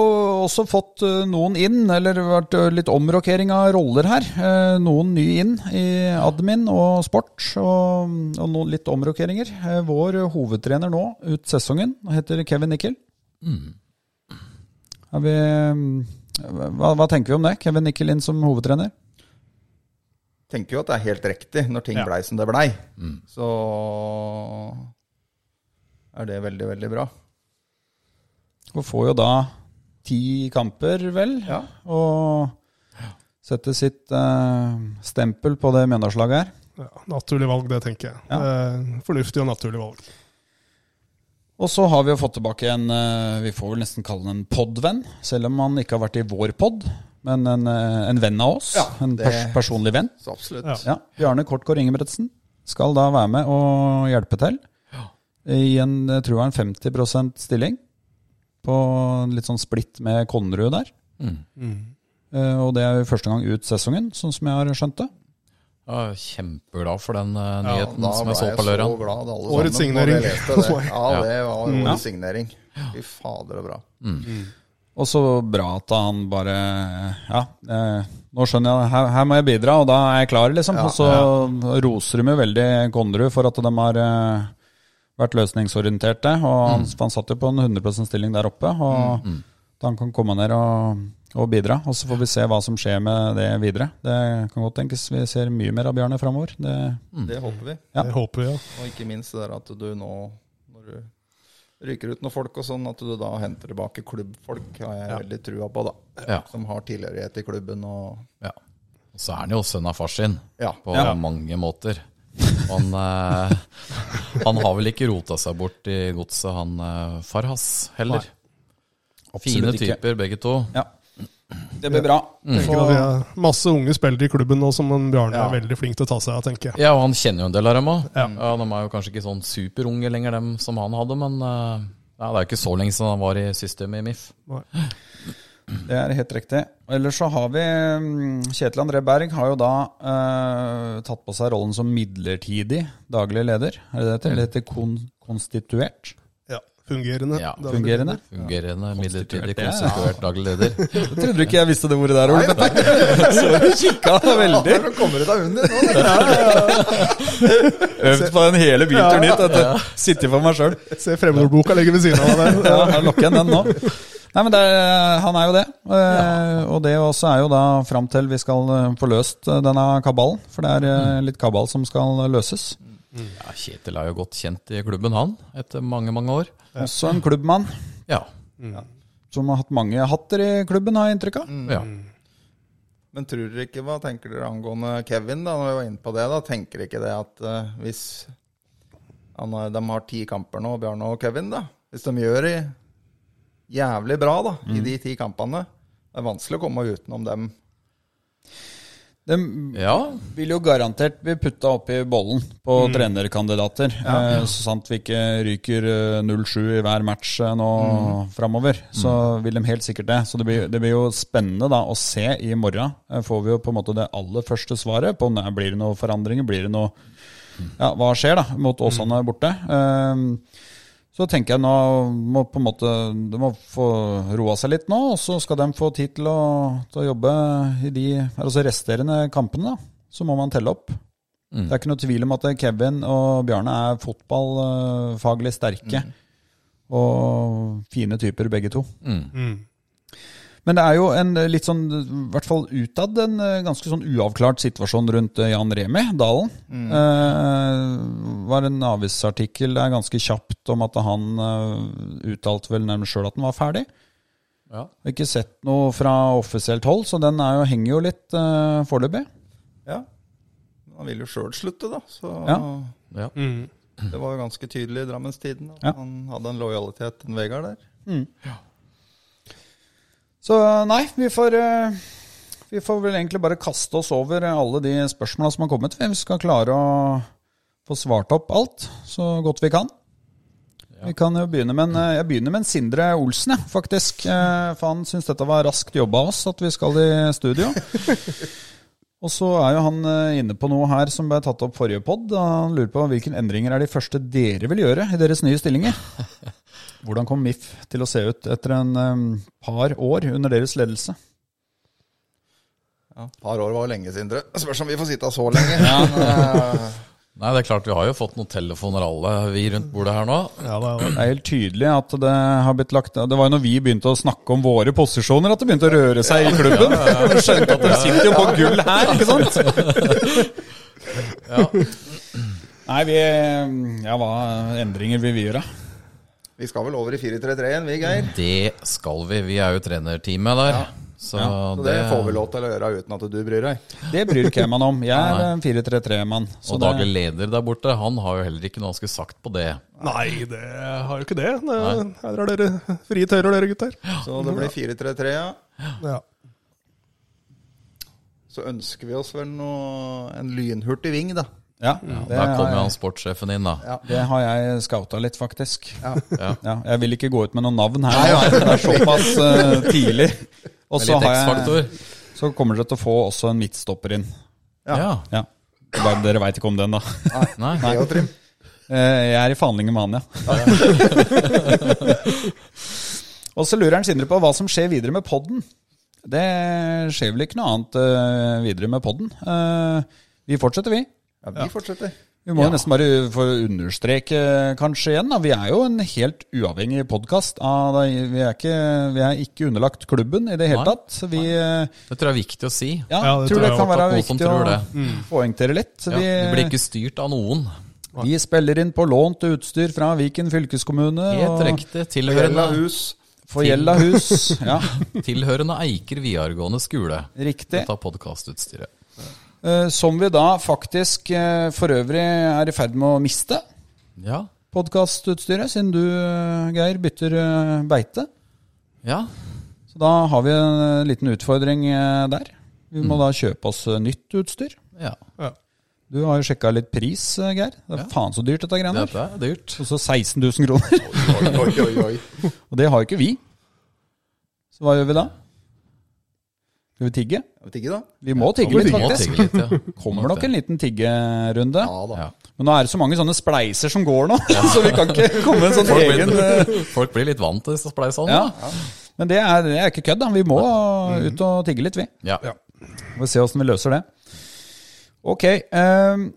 Speaker 2: også fått eh, noen inn, eller vært eh, litt omrokering av roller her. Eh, Noen ny inn i admin og sport, og, og noen litt omrokeringer. Eh, Vår eh, hovedtrener nå ut sesongen heter Kevin Nickel. Er vi, eh, hva, hva tenker vi om det? Kevin Nickel inn som hovedtrener?
Speaker 5: tenker jo at det er helt riktig når ting
Speaker 4: Ja.
Speaker 5: blei som det blei.
Speaker 2: Mm.
Speaker 5: Så er det veldig, veldig bra.
Speaker 2: Og får jo da ti kamper, vel?
Speaker 5: Ja.
Speaker 2: Og setter sitt eh, stempel på det Mjøndalslaget her.
Speaker 4: Ja, naturlig valg, det tenker jeg. Eh, fornuftig og naturlig valg.
Speaker 2: Og så har vi jo fått tilbake en eh, Vi får vel nesten kalle den en podvenn, selv om han ikke har vært i vår pod. Men en, eh, en venn av oss.
Speaker 5: Ja,
Speaker 2: en
Speaker 5: det-
Speaker 2: pers personlig venn.
Speaker 5: Så absolutt.
Speaker 4: Ja.
Speaker 2: Ja, Bjarne Kortgård Ingebretsen skal da være med og hjelpe til. I en, jeg tror det er en 50 stilling. På en litt sånn splitt med Konnerud der.
Speaker 5: Mm.
Speaker 2: Eh, og det er jo første gang ut sesongen, sånn som jeg har skjønt det.
Speaker 3: jeg er kjempeglad for den eh,
Speaker 4: Ja,
Speaker 3: nyheten
Speaker 5: Da
Speaker 3: som
Speaker 5: ble
Speaker 3: jeg så på lørdag. Mm.
Speaker 5: så glad alle
Speaker 4: Årets
Speaker 5: sammen,
Speaker 4: signering
Speaker 5: når jeg leste
Speaker 4: hos
Speaker 5: det.
Speaker 4: meg.
Speaker 5: Ja, det var
Speaker 2: Ja.
Speaker 5: årets signering. Fy fader, det er bra.
Speaker 2: Og så bra at han bare Ja, eh, nå skjønner jeg det. Her, her må jeg bidra, og da er jeg klar, liksom. og så roser de jo veldig Konderud for at de har eh, vært løsningsorienterte. Og han,
Speaker 4: Mm.
Speaker 2: han satt jo på en 100 stilling der oppe, og at han kan komme ned og, og bidra. Og så får vi se hva som skjer med det videre. Det kan godt tenkes vi ser mye mer av Bjarne framover. Det
Speaker 3: Mm.
Speaker 5: Det håper vi.
Speaker 2: Ja.
Speaker 4: Det håper vi, ja.
Speaker 5: Og ikke minst det der at du nå, når du ryker ut noen folk og sånn, at du da henter tilbake klubbfolk, har jeg veldig trua på, da.
Speaker 3: Ja.
Speaker 5: Som har tilhørighet i klubben og
Speaker 3: Ja. Og så er han jo sønn av far sin,
Speaker 5: Ja.
Speaker 3: på mange måter. Han, eh, han har vel ikke rota seg bort i godset, han eh, Farhas, heller. Fine
Speaker 2: absolutt ikke.
Speaker 3: typer, begge to.
Speaker 2: Ja. Det blir bra.
Speaker 4: Tenker at det er masse unge spillere i klubben nå som en Bjarne
Speaker 5: Ja.
Speaker 4: er veldig flink til å ta seg av, tenker jeg.
Speaker 3: Ja, og han kjenner jo en del av dem òg.
Speaker 4: Ja.
Speaker 3: Ja. de er jo kanskje ikke sånn superunge lenger, dem som han hadde, men eh, ja, det er jo ikke så lenge siden han var i systemet i MIF.
Speaker 4: Nei.
Speaker 2: Det er helt riktig. Og Ellers så har vi mm, Kjetil André Berg har jo da eh, tatt på seg rollen som midlertidig daglig leder. Er det det heter? Eller heter kon konstituert?
Speaker 4: Ja, fungerende.
Speaker 3: Ja,
Speaker 4: Da-
Speaker 2: Fungerende?
Speaker 3: Fungerende, midlertidig
Speaker 2: ja.
Speaker 3: konstituert daglig leder.
Speaker 2: Jeg trodde ikke jeg visste det ordet der, Ole Petter. Så du kikka veldig.
Speaker 5: Hvordan kommer du deg under nå?
Speaker 2: Øvd på den hele bilturen hit. vet du. Sitter for meg sjøl.
Speaker 4: Se fremmedordboka ligger ved siden av deg.
Speaker 2: Ja, jeg lukker igjen den nå. Nei, men det er, Han er jo det. Eh, Og det også er jo da fram til vi skal eh, få løst eh, denne kabalen. For det er eh, litt kabal som skal løses.
Speaker 3: Ja, Kjetil er jo godt kjent i klubben, han, etter mange, mange år.
Speaker 2: Også en klubbmann
Speaker 3: Ja.
Speaker 2: som har hatt mange hatter i klubben, har jeg inntrykk av.
Speaker 3: ja.
Speaker 5: Men tror dere ikke, hva tenker dere angående Kevin, da, når vi var inne på det? da, Tenker dere ikke det at eh, hvis han, har- de har ti kamper nå, Bjarne og Kevin, da, hvis de gjør det jævlig bra da,
Speaker 2: Mm.
Speaker 5: i de ti kampene Det er vanskelig å komme utenom dem.
Speaker 2: Det
Speaker 3: ja.
Speaker 2: vil jo garantert bli putta opp i bollen på trenerkandidater. Eh, Så sant vi ikke ryker eh, 0-7 i hver match eh, nå framover, så vil de helt sikkert det. Så det blir, det blir jo spennende da å se i morgen. Eh, Får vi jo på en måte det aller første svaret på om det er- blir det noen forandringer, blir det noe ja, hva skjer da mot Åsane borte. Ehm, så tenker jeg nå må på en måte de må få roa seg litt nå, og så skal de få tid til å, til å jobbe i de altså resterende kampene. da. Så må man telle opp. Det er ikke noe tvil om at Kevin og Bjarne er fotballfaglig sterke. Og fine typer, begge to. Men det er jo en eh, litt sånn, i hvert fall utad, en eh, ganske sånn uavklart situasjon rundt eh, Jan Remi Dalen. Eh, var en avisartikkel der ganske kjapt om at han eh, uttalte vel nærmest sjøl at han var ferdig.
Speaker 3: Ja.
Speaker 2: Ikke sett noe fra offisielt hold, så den er jo, henger jo litt eh, foreløpig.
Speaker 5: Ja. Han vil jo sjøl slutte, da. Så
Speaker 2: Ja.
Speaker 3: ja.
Speaker 5: det var jo ganske tydelig i Drammenstiden. at
Speaker 2: Ja.
Speaker 5: Han hadde en lojalitet til Vegard der.
Speaker 2: Så nei, vi får, eh, vi får vel egentlig bare kaste oss over alle de spørsmåla som har kommet. Vi skal klare å få svart opp alt så godt vi kan. Vi kan jo begynne med en, eh, jeg begynner med en Sindre Olsen, jeg, faktisk. Eh, For han syns dette var raskt jobba av oss, at vi skal i studio. Og så er jo han eh, inne på noe her som ble tatt opp forrige pod. Han lurer på hvilke endringer er de første dere vil gjøre i deres nye stillinger? Hvordan kom MIF til å se ut etter en eh, par år under deres ledelse?
Speaker 5: Ja, et par år var jo lenge, Sindre. Spørs om vi får sitte så lenge. Men, eh,
Speaker 3: Nei, det er klart vi har jo fått noen telefoner alle vi rundt bordet her nå.
Speaker 4: Ja, det er det.
Speaker 2: Det er helt tydelig at det har blitt lagt Det var jo når vi begynte å snakke om våre posisjoner, at det begynte å røre seg i klubben. Du skjønte at de sitter jo på gull her, ikke sant? Nei, vi Ja, hva endringer vil vi gjøre?
Speaker 5: vi skal vel over i 4-3-3-en, vi, Geir.
Speaker 3: Det skal vi. Vi er jo trenerteamet der. Så,
Speaker 5: Så
Speaker 3: det,
Speaker 5: det får vi lov til å gjøre uten at du bryr deg.
Speaker 2: Det bryr ikke jeg meg om. Jeg er en 4-3-3-mann.
Speaker 3: Og daglig leder der borte, han har jo heller ikke noe han skulle sagt på det.
Speaker 4: Nei, det har jo ikke det. det her har dere frie tøyler, dere gutter.
Speaker 5: Så det blir 4-3-3, ja.
Speaker 4: Ja.
Speaker 5: Så ønsker vi oss vel noe, en lynhurtig ving, da.
Speaker 2: Ja,
Speaker 3: Ja,
Speaker 2: det,
Speaker 3: der kommer jo
Speaker 2: har,
Speaker 3: han sportssjefen inn, da.
Speaker 2: det har jeg scouta litt, faktisk.
Speaker 3: Ja.
Speaker 2: Ja, jeg vil ikke gå ut med noen navn her, det er såpass eh, tidlig. Og
Speaker 3: Med
Speaker 2: så,
Speaker 3: litt
Speaker 2: har jeg,
Speaker 3: X-faktor.
Speaker 2: så kommer dere til å få også en midtstopper inn.
Speaker 3: Ja.
Speaker 2: Ja. Bare, dere veit ikke om den, da.
Speaker 3: Nei.
Speaker 5: Det og trim.
Speaker 2: Eh, Jeg er i forhandlinger med han, ja. Og så lurer han Sindre på hva som skjer videre med podden. Det skjer vel ikke noe annet eh, videre med podden. Eh, vi fortsetter, vi.
Speaker 5: Ja, vi fortsetter.
Speaker 2: Vi må jo nesten bare få understreke kanskje igjen. Da. Vi er jo en helt uavhengig podkast. Vi, er ikke- vi er ikke underlagt klubben i det hele
Speaker 3: Nei.
Speaker 2: tatt. Vi eh,
Speaker 3: Det tror jeg er viktig å si.
Speaker 2: ja,
Speaker 4: Ja,
Speaker 2: tror
Speaker 4: det tror
Speaker 2: det
Speaker 4: jeg
Speaker 2: kan
Speaker 3: også
Speaker 2: være
Speaker 3: at noen som
Speaker 2: viktig å
Speaker 3: tror
Speaker 2: poengtere litt. Så
Speaker 3: Mm. Ja,
Speaker 2: vi,
Speaker 3: det blir ikke styrt av noen.
Speaker 2: vi spiller inn på lånt utstyr fra Viken fylkeskommune.
Speaker 3: Helt
Speaker 2: og
Speaker 3: riktig.
Speaker 5: Gjella
Speaker 3: Tilhørende,
Speaker 5: hus.
Speaker 2: Forgjelda hus. Ja,
Speaker 3: tilhørende Eiker videregående skole.
Speaker 2: riktig.
Speaker 3: Dette er podkastutstyret.
Speaker 2: Eh, Som vi da faktisk eh, for øvrig er i ferd med å miste
Speaker 3: Ja.
Speaker 2: podkastutstyret, siden du, eh, Geir, bytter eh, beite.
Speaker 3: ja.
Speaker 2: Så da har vi en liten utfordring eh, der. Vi
Speaker 3: Mm.
Speaker 2: må da kjøpe oss eh, nytt utstyr.
Speaker 3: ja.
Speaker 4: Ja.
Speaker 2: Du har jo sjekka litt pris, eh, Geir. Det er faen så dyrt, dette greiene der.
Speaker 3: Dette er dyrt.
Speaker 2: Og så 16 000 kroner.
Speaker 5: Oi, oi, oi, oi.
Speaker 2: Og det har jo ikke vi. Så hva gjør vi da? Skal vi tigge?
Speaker 5: Jeg vet ikke, da.
Speaker 2: Vi må
Speaker 3: Ja,
Speaker 2: tigge litt,
Speaker 3: vi må
Speaker 2: faktisk.
Speaker 3: tigge litt, ja.
Speaker 2: Kommer nok en liten tiggerunde.
Speaker 5: Ja da.
Speaker 3: Ja.
Speaker 2: Men nå er det så mange sånne spleiser som går nå, så vi kan ikke komme med en sånn
Speaker 3: Folk
Speaker 2: egen eh,
Speaker 3: blir, folk blir litt vant til disse spleisene.
Speaker 2: ja.
Speaker 3: sånn, da.
Speaker 2: Men det er, det er ikke kødd, da. Vi må ut og tigge litt, vi.
Speaker 3: Ja. Ja.
Speaker 2: Vi får se åssen vi løser det. Ok. ehm,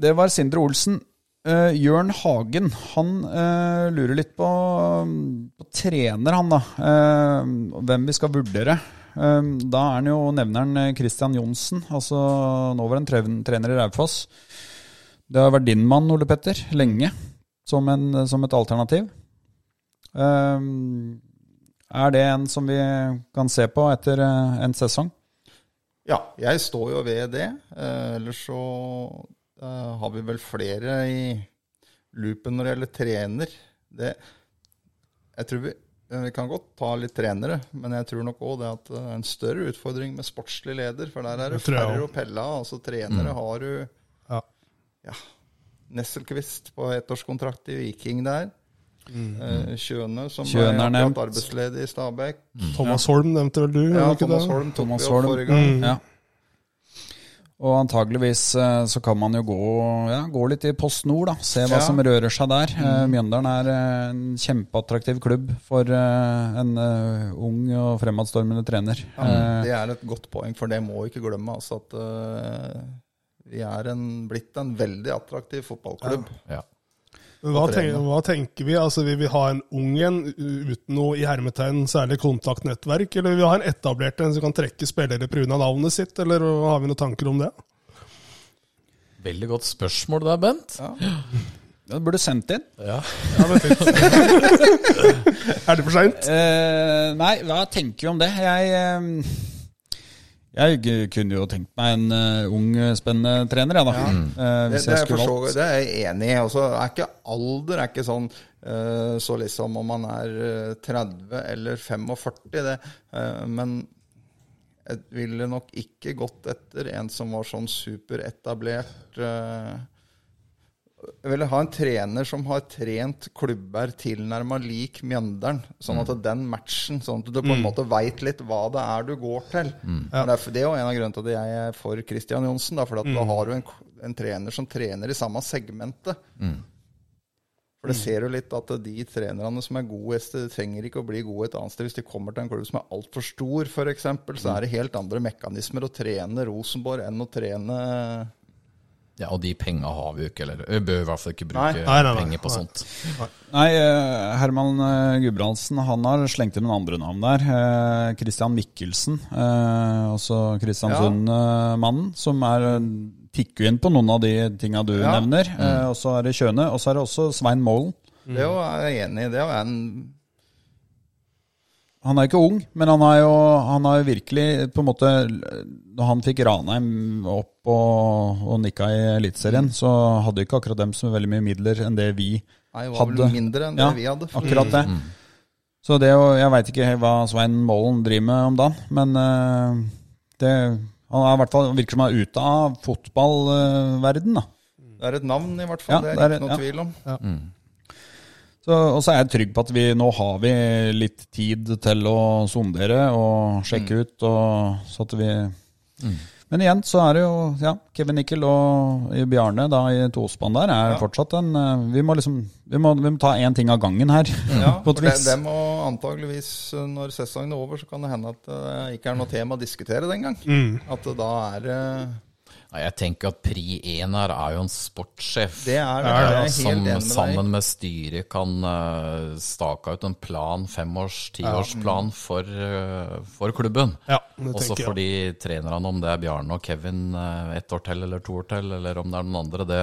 Speaker 2: det var Sindre Olsen. Uh, Jørn Hagen han eh, lurer litt på, på trener, han da. Eh, hvem vi skal vurdere. Eh, da er han jo nevneren Christian Johnsen, altså nåværende tre- trener i Raufoss. Det har vært din mann, Ole Petter, lenge, som, en, som et alternativ. Eh, er det en som vi kan se på etter eh, en sesong?
Speaker 5: Ja, jeg står jo ved det. Eh, ellers så eh, har vi vel flere i loopen når det gjelder trener. Det, jeg tror vi, eh, vi kan godt ta litt trenere, men jeg tror nok òg det at det er en større utfordring med sportslig leder, for der er det
Speaker 4: Det tror jeg
Speaker 5: færre
Speaker 4: også. Mm.
Speaker 5: å pelle av. Altså trenere har du
Speaker 4: Ja.
Speaker 5: ja, Nesselquist på ettårskontrakt i Viking der.
Speaker 4: Mm.
Speaker 5: Eh, Kjøne, som
Speaker 2: Kjøne er
Speaker 5: er akkurat
Speaker 2: nevnt.
Speaker 5: arbeidsledig i Stabæk.
Speaker 4: Thomas Holm nevnte vel du?
Speaker 5: Ja,
Speaker 4: eller ikke
Speaker 5: Thomas
Speaker 4: det?
Speaker 5: Holm tok
Speaker 2: Thomas
Speaker 5: vi opp
Speaker 2: Holm.
Speaker 5: forrige gang.
Speaker 2: Ja. Og antageligvis eh, så kan man jo gå, ja, gå litt i Post Nord, da. Se hva
Speaker 5: Ja. Mm.
Speaker 2: som rører seg der. Eh, Mjøndalen er eh, en kjempeattraktiv klubb for eh, en eh, ung og fremadstormende trener.
Speaker 5: Ja,
Speaker 2: Eh,
Speaker 5: det er et godt poeng, for det må vi ikke glemme. Altså at eh, vi er en, blitt en veldig attraktiv fotballklubb.
Speaker 4: Men hva,
Speaker 5: Og trene.
Speaker 4: tenker, hva tenker vi? Altså, Vil vi ha en ung en u- uten noe i hermetegn særlig kontaktnettverk, eller vil vi ha en etablert en som kan trekke spillere pga. navnet sitt, eller har vi noen tanker om det?
Speaker 3: Veldig godt spørsmål der, Bent.
Speaker 5: Ja.
Speaker 2: Det burde sendt inn.
Speaker 4: Er det for seint?
Speaker 2: Eh, nei, hva tenker vi om det? Jeg, eh, jeg g- kunne jo tenkt meg en eh, ung, spennende trener, jeg, da. Eh,
Speaker 5: Det,
Speaker 2: hvis
Speaker 5: det,
Speaker 2: jeg
Speaker 5: er for
Speaker 2: skulle
Speaker 5: så,
Speaker 2: valgt.
Speaker 5: det er jeg enig i. Altså, er ikke alder er ikke sånn eh, så liksom om man er eh, 30 eller 45, det. eh, men jeg ville nok ikke gått etter en som var sånn superetablert eh, Jeg ville ha en trener som har trent klubber tilnærma lik Mjøndalen. Sånn at den matchen, sånn at du på en måte veit litt hva det er du går til. Og derfor- Det er jo en av grunnene til at jeg er for Christian Johnsen. da, For at da har du en, k- en trener som trener i samme segmentet. For det ser jo litt at de trenerne som er gode, de trenger ikke å bli gode et annet sted. Hvis de kommer til en klubb som er altfor stor, f.eks., så er det helt andre mekanismer å trene Rosenborg enn å trene
Speaker 3: Ja, og de penga har vi jo ikke, eller vi bør i hvert fall ikke bruke
Speaker 5: Nei.
Speaker 4: Nei, nei, nei.
Speaker 3: penger på sånt.
Speaker 2: Nei, eh, Herman eh, Gudbrandsen han har slengt inn noen andre navn der. Eh, Christian Mikkelsen, eh, også Kristiansund-mannen, som er eh, tikker jo inn på noen av de tinga du
Speaker 5: Ja.
Speaker 2: nevner. Eh, og så er det Kjøne, og så er det også Svein Målen.
Speaker 5: Det er jo jeg er enig i. Det er jo en
Speaker 2: Han er ikke ung, men han har jo, han har jo virkelig på en måte Når han fikk Ranheim opp og, og nikka i Eliteserien, så hadde ikke akkurat dem så veldig mye midler enn det vi
Speaker 5: Nei, det var vel
Speaker 2: Hadde-
Speaker 5: mindre enn
Speaker 2: Ja,
Speaker 5: det vi hadde.
Speaker 2: Akkurat det.
Speaker 5: Mm.
Speaker 2: Så det å Jeg veit ikke hva Svein Målen driver med om dagen, men eh, det han er i hvert fall virker som han er ute av fotballverden da.
Speaker 5: Det er et navn, i hvert
Speaker 2: Ja,
Speaker 5: fall. det er
Speaker 2: det er-
Speaker 5: ikke noe
Speaker 2: ja.
Speaker 5: tvil om.
Speaker 2: Så, og så er jeg trygg på at vi nå har vi litt
Speaker 5: Mm.
Speaker 2: tid til å sondere og sjekke ut, og, så at sånn vi Men igjen så er det jo ja, Kevin Nickel og Bjarne da i tospann der er fortsatt en eh, Vi må liksom Vi må, vi må ta én ting av gangen her.
Speaker 5: Ja,
Speaker 2: på
Speaker 5: for
Speaker 2: et
Speaker 5: det,
Speaker 2: vis.
Speaker 5: det må antageligvis, eh, når sesongen er over, så kan det hende at det ikke er noe tema å diskutere den gang. At det da er eh,
Speaker 3: Nei, jeg tenker at pri én her er jo en sportssjef.
Speaker 5: Det er det.
Speaker 3: Ja,
Speaker 5: Jeg er helt
Speaker 3: som
Speaker 5: enig med deg.
Speaker 3: sammen med styret kan eh, stake ut en plan, femårs,
Speaker 5: Mm.
Speaker 3: tiårsplan for, eh, for klubben.
Speaker 4: Ja, det
Speaker 3: Også
Speaker 4: tenker jeg.
Speaker 3: for de trenerne, om det er Bjarne og Kevin eh, ett år til eller to år til, eller om det er noen andre. det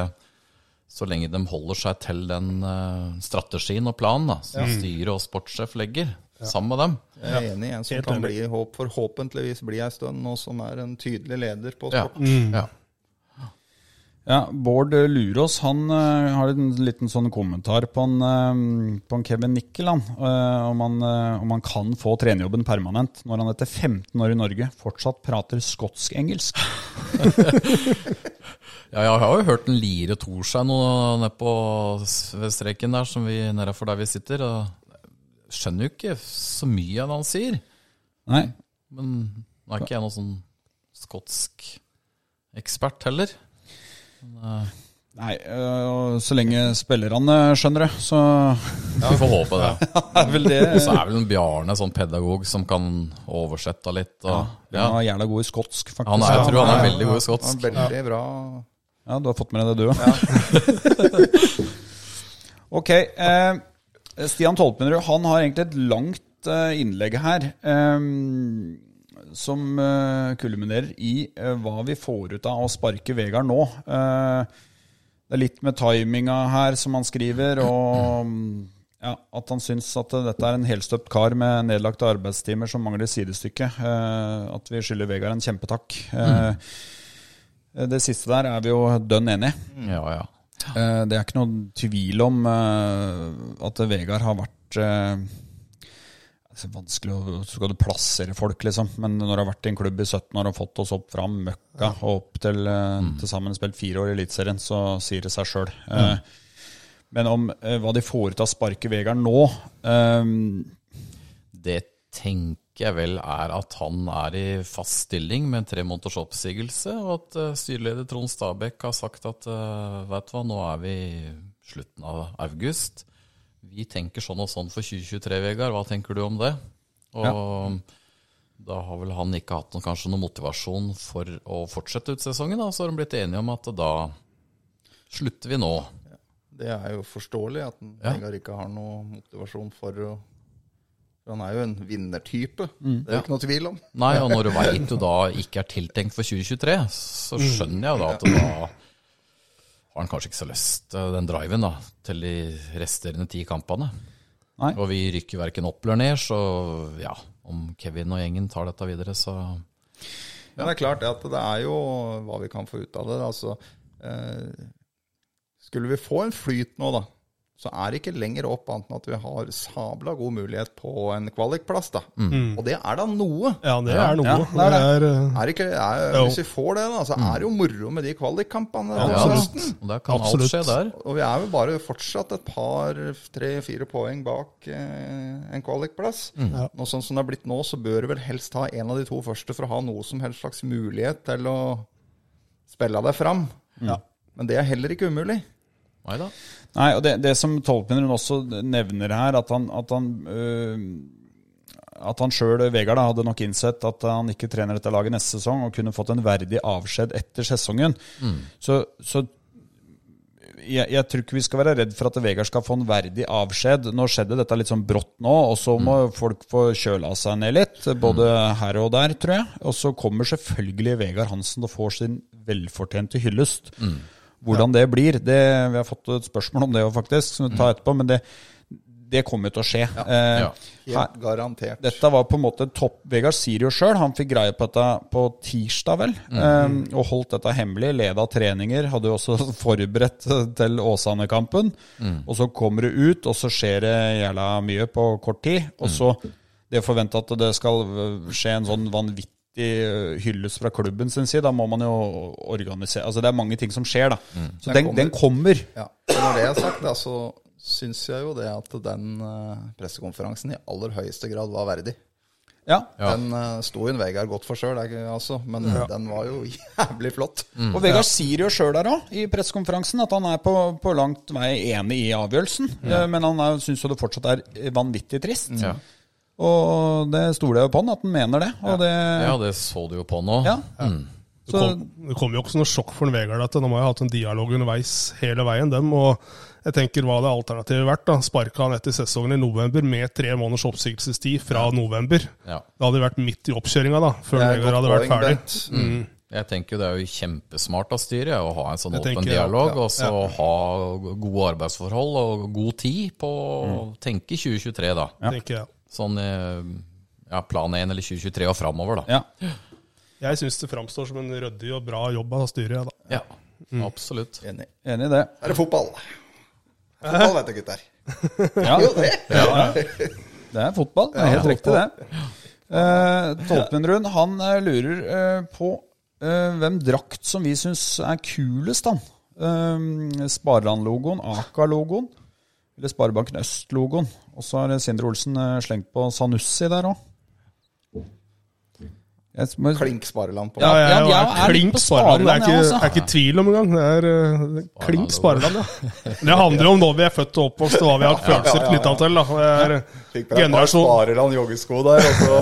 Speaker 3: så lenge de holder seg til den eh, strategien og planen da, som styret og sportssjef legger, sammen med dem.
Speaker 5: Jeg er enig i en som
Speaker 4: Helt
Speaker 5: kan
Speaker 4: enig.
Speaker 5: bli, håp, forhåpentligvis bli ei stund, og som er en tydelig leder på
Speaker 3: Ja.
Speaker 5: sport.
Speaker 4: Mm.
Speaker 3: Ja.
Speaker 2: Ja, Bård Lurås han eh, har en liten sånn kommentar på en, eh, på en Kevin Nickel. Han, eh, om, han, eh, om han kan få trenerjobben permanent når han etter 15 år i Norge fortsatt prater skotsk-engelsk.
Speaker 3: Ja, jeg har jo hørt en lire tor seg nå nede på s- ved streken der, som vi, nede for der vi sitter. Og jeg skjønner jo ikke så mye av det han sier.
Speaker 2: Nei,
Speaker 3: Men nå er ikke jeg noen sånn skotsk ekspert heller.
Speaker 2: Nei eh, og så lenge spillerne skjønner det, så
Speaker 3: Vi får håpe det.
Speaker 2: er vel det
Speaker 3: Så er vel en Bjarne sånn pedagog som kan oversette litt. Og, ja.
Speaker 2: Han er jævla god i skotsk, faktisk.
Speaker 3: Han er, jeg tror han
Speaker 5: Ja,
Speaker 3: er
Speaker 5: ja,
Speaker 3: veldig god i
Speaker 5: Han
Speaker 3: skotsk.
Speaker 5: er veldig bra.
Speaker 2: Ja, du har fått med deg det, du òg. ok. Eh, Stian Tolpenrud han har egentlig et langt eh, innlegg her. Eh, som eh, kulminerer i eh, hva vi får ut av å sparke Vegard nå. Eh, det er litt med timinga her, som han skriver, og mm, ja, at han syns at eh, dette er en helstøpt kar med nedlagte arbeidstimer som mangler sidestykke. Eh, at vi skylder Vegard en kjempetakk. Eh, det siste der er vi jo dønn enig i.
Speaker 3: Ja, ja.
Speaker 2: Eh, Det er ikke noen tvil om eh, at Vegard har vært eh, altså, Vanskelig å så skal du plassere folk, liksom. Men når du har vært i en klubb i 17 år og fått oss opp fra møkka og opp til eh, til sammen spilt fire år i Eliteserien, så sier det seg sjøl. Men om eh, hva de får ut av sparket Vegard nå eh,
Speaker 3: Det tenker jeg vel er at han er i fast stilling med en tre måneders oppsigelse, og at eh, styreleder Trond Stabæk har sagt at eh, vet du hva, nå er vi i slutten av august. Vi tenker sånn og sånn for 2023, Vegard. Hva tenker du om det? Og da har vel han ikke hatt noen, kanskje noen motivasjon for å fortsette ut sesongen, da. Så har de blitt enige om at da slutter vi nå.
Speaker 5: Det er jo forståelig at han
Speaker 3: Ja.
Speaker 5: Vegard ikke har noe motivasjon for å for Han er jo en vinnertype.
Speaker 2: Mm.
Speaker 5: Det er jo ikke noe tvil om.
Speaker 3: Nei, og når du veit du da ikke er tiltenkt for 2023, så
Speaker 4: Mm.
Speaker 3: skjønner jeg jo da at da har han kanskje ikke så lyst eh, den driven da, til de resterende ti kampene.
Speaker 2: Nei.
Speaker 3: Og vi rykker verken opp eller ned, så ja, om Kevin og gjengen tar dette videre, så
Speaker 5: Men det er klart at det er jo hva vi kan få ut av det. Altså, eh, skulle vi få en flyt nå, da, så er det ikke lenger opp annet enn at vi har sabla god mulighet på en kvalikplass. da. Og det er da noe.
Speaker 4: Ja, det er noe.
Speaker 2: Ja, det er
Speaker 4: det er, eh,
Speaker 5: Er det ikke, er,
Speaker 4: Jo.
Speaker 5: hvis vi får det, da, så er det jo moro med de kvalikkampene.
Speaker 3: ja,
Speaker 5: Altså,
Speaker 3: og der kan alt
Speaker 4: Absolutt.
Speaker 3: skje der.
Speaker 5: Og vi er jo bare fortsatt et par, tre-fire poeng bak eh, en kvalikplass.
Speaker 4: Ja.
Speaker 5: Og sånn som det er blitt nå, så bør du vel helst ha en av de to første for å ha noe som helst slags mulighet til å spille deg fram.
Speaker 4: Ja.
Speaker 5: Men det er heller ikke umulig.
Speaker 3: Nei da.
Speaker 2: Nei, og det, det som Tolpenrud også nevner her, at han, at han eh, øh, at han sjøl, Vegard, da, hadde nok innsett at han ikke trener dette laget neste sesong, og kunne fått en verdig avskjed etter sesongen.
Speaker 3: Mm.
Speaker 2: Så, så jeg, jeg tror ikke vi skal være redd for at Vegard skal få en verdig avskjed. Nå skjedde dette litt sånn brått nå, og så må
Speaker 3: Mm.
Speaker 2: folk få kjøla seg ned litt. Både her og der, tror jeg. Og så kommer selvfølgelig Vegard Hansen og får sin velfortjente hyllest.
Speaker 3: Mm.
Speaker 2: Hvordan det blir, det, vi har fått et spørsmål om det jo faktisk, som vi tar etterpå, men det, det kommer jo til å skje. Eh,
Speaker 3: Mm. Ja.
Speaker 5: Helt
Speaker 2: her-
Speaker 5: garantert.
Speaker 2: dette var på en måte topp Vegard sier jo sjøl. Han fikk greie på dette på tirsdag, vel. eh, og holdt dette hemmelig. Leda treninger. Hadde jo også forberedt til Åsane-kampen. Og så kommer det ut, og så skjer det jævla mye på kort tid. Og så det å forvente at det skal eh, skje en sånn vanvittig eh, hyllest fra klubben sin side, da må man jo organisere Altså det er mange ting som skjer, da. Så den, den kommer.
Speaker 5: Ja. Og når det er sagt, da, så syns jeg jo det at den eh, pressekonferansen i aller høyeste grad var verdig.
Speaker 2: Ja.
Speaker 3: Ja.
Speaker 5: Den eh, sto jo en Vegard godt for sjøl, altså, men den var jo jævlig flott.
Speaker 2: Og Vegard sier jo sjøl der òg, i pressekonferansen, at han er på, på langt vei enig i avgjørelsen. eh, Men han syns jo det fortsatt er vanvittig trist.
Speaker 3: Ja.
Speaker 2: Og det stoler jeg jo på han, at han mener det. Og det
Speaker 3: ja, det så du jo på nå.
Speaker 2: Ja.
Speaker 3: Mm.
Speaker 4: Det
Speaker 2: Så-
Speaker 4: kom, det kom jo ikke som noe sjokk for en Vegard at de har jo hatt en dialog underveis hele veien, dem. Og jeg tenker hva hadde alternativet vært? da? Sparka han etter sesongen i november med tre måneders oppsigelsestid fra november.
Speaker 3: Ja.
Speaker 4: Det hadde vært midt i oppkjøringa da, før
Speaker 5: Det er et
Speaker 4: Vegard
Speaker 5: godt
Speaker 4: hadde vært
Speaker 5: poeng,
Speaker 4: ferdig. Mm,
Speaker 5: Bent. Mm.
Speaker 3: Jeg tenker jo Det er jo kjempesmart av styret å ha en sånn
Speaker 4: Jeg
Speaker 3: åpen
Speaker 4: tenker, ja,
Speaker 3: dialog,
Speaker 4: ja,
Speaker 3: og så ha gode arbeidsforhold og god tid på å
Speaker 4: Mm.
Speaker 3: tenke 2023, da.
Speaker 4: tenker jeg.
Speaker 3: Sånn eh, ja, plan 1 eller 2023 og framover, da.
Speaker 2: ja.
Speaker 4: Jeg syns det framstår som en ryddig og bra jobb av styret. jeg, da.
Speaker 3: Ja, absolutt.
Speaker 5: Enig.
Speaker 2: Enig i det.
Speaker 5: Er det fotball? Fotball, vet du, gutter.
Speaker 2: Ja.
Speaker 5: Jo, det.
Speaker 2: Det er fotball. Det er helt riktig, det. Eh, Tolpenrund han eh, lurer eh, på eh, hvem drakt som vi syns er kulest, han. Eh, Spareland-logoen, Aka-logoen eller Sparebanken Øst-logoen. Og så har Sindre Olsen eh, slengt på Sanussi der òg.
Speaker 5: Klink Spareland på.
Speaker 2: Ja,
Speaker 4: Ja,
Speaker 2: ja,
Speaker 4: jeg, jeg,
Speaker 2: jeg er litt
Speaker 4: klink
Speaker 2: på altså.
Speaker 4: Spareland. Det er
Speaker 2: Spareland,
Speaker 4: ikke,
Speaker 2: jeg også.
Speaker 4: er ikke tvil om engang. Det er eh, klink Spareland, ja. Det handler om når vi er født og oppvokst, og hva vi har hatt følelser knytta til. da. Det er
Speaker 5: Fikk bare et par
Speaker 4: generasjon-
Speaker 5: Spareland joggesko der, og så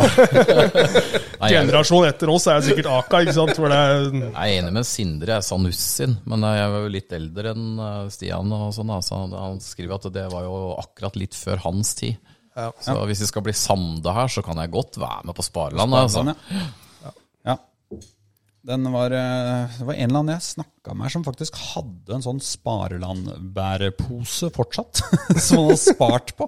Speaker 3: Nei, jeg,
Speaker 4: Generasjon etter oss er sikkert Aka, ikke sant? For det er,
Speaker 3: jeg er enig med Sindre, jeg sa Nussin, men eh, jeg var jo litt eldre enn eh, Stian. og sånn, da, så han- Han skriver at det var jo akkurat litt før hans tid. Så hvis vi skal bli samda her, så kan jeg godt være med på Spareland. Altså.
Speaker 2: Sånn, ja. ja. Den var, eh, det var en eller annen jeg snakka med her som faktisk hadde en sånn Spareland-bærepose fortsatt. Som han har spart på.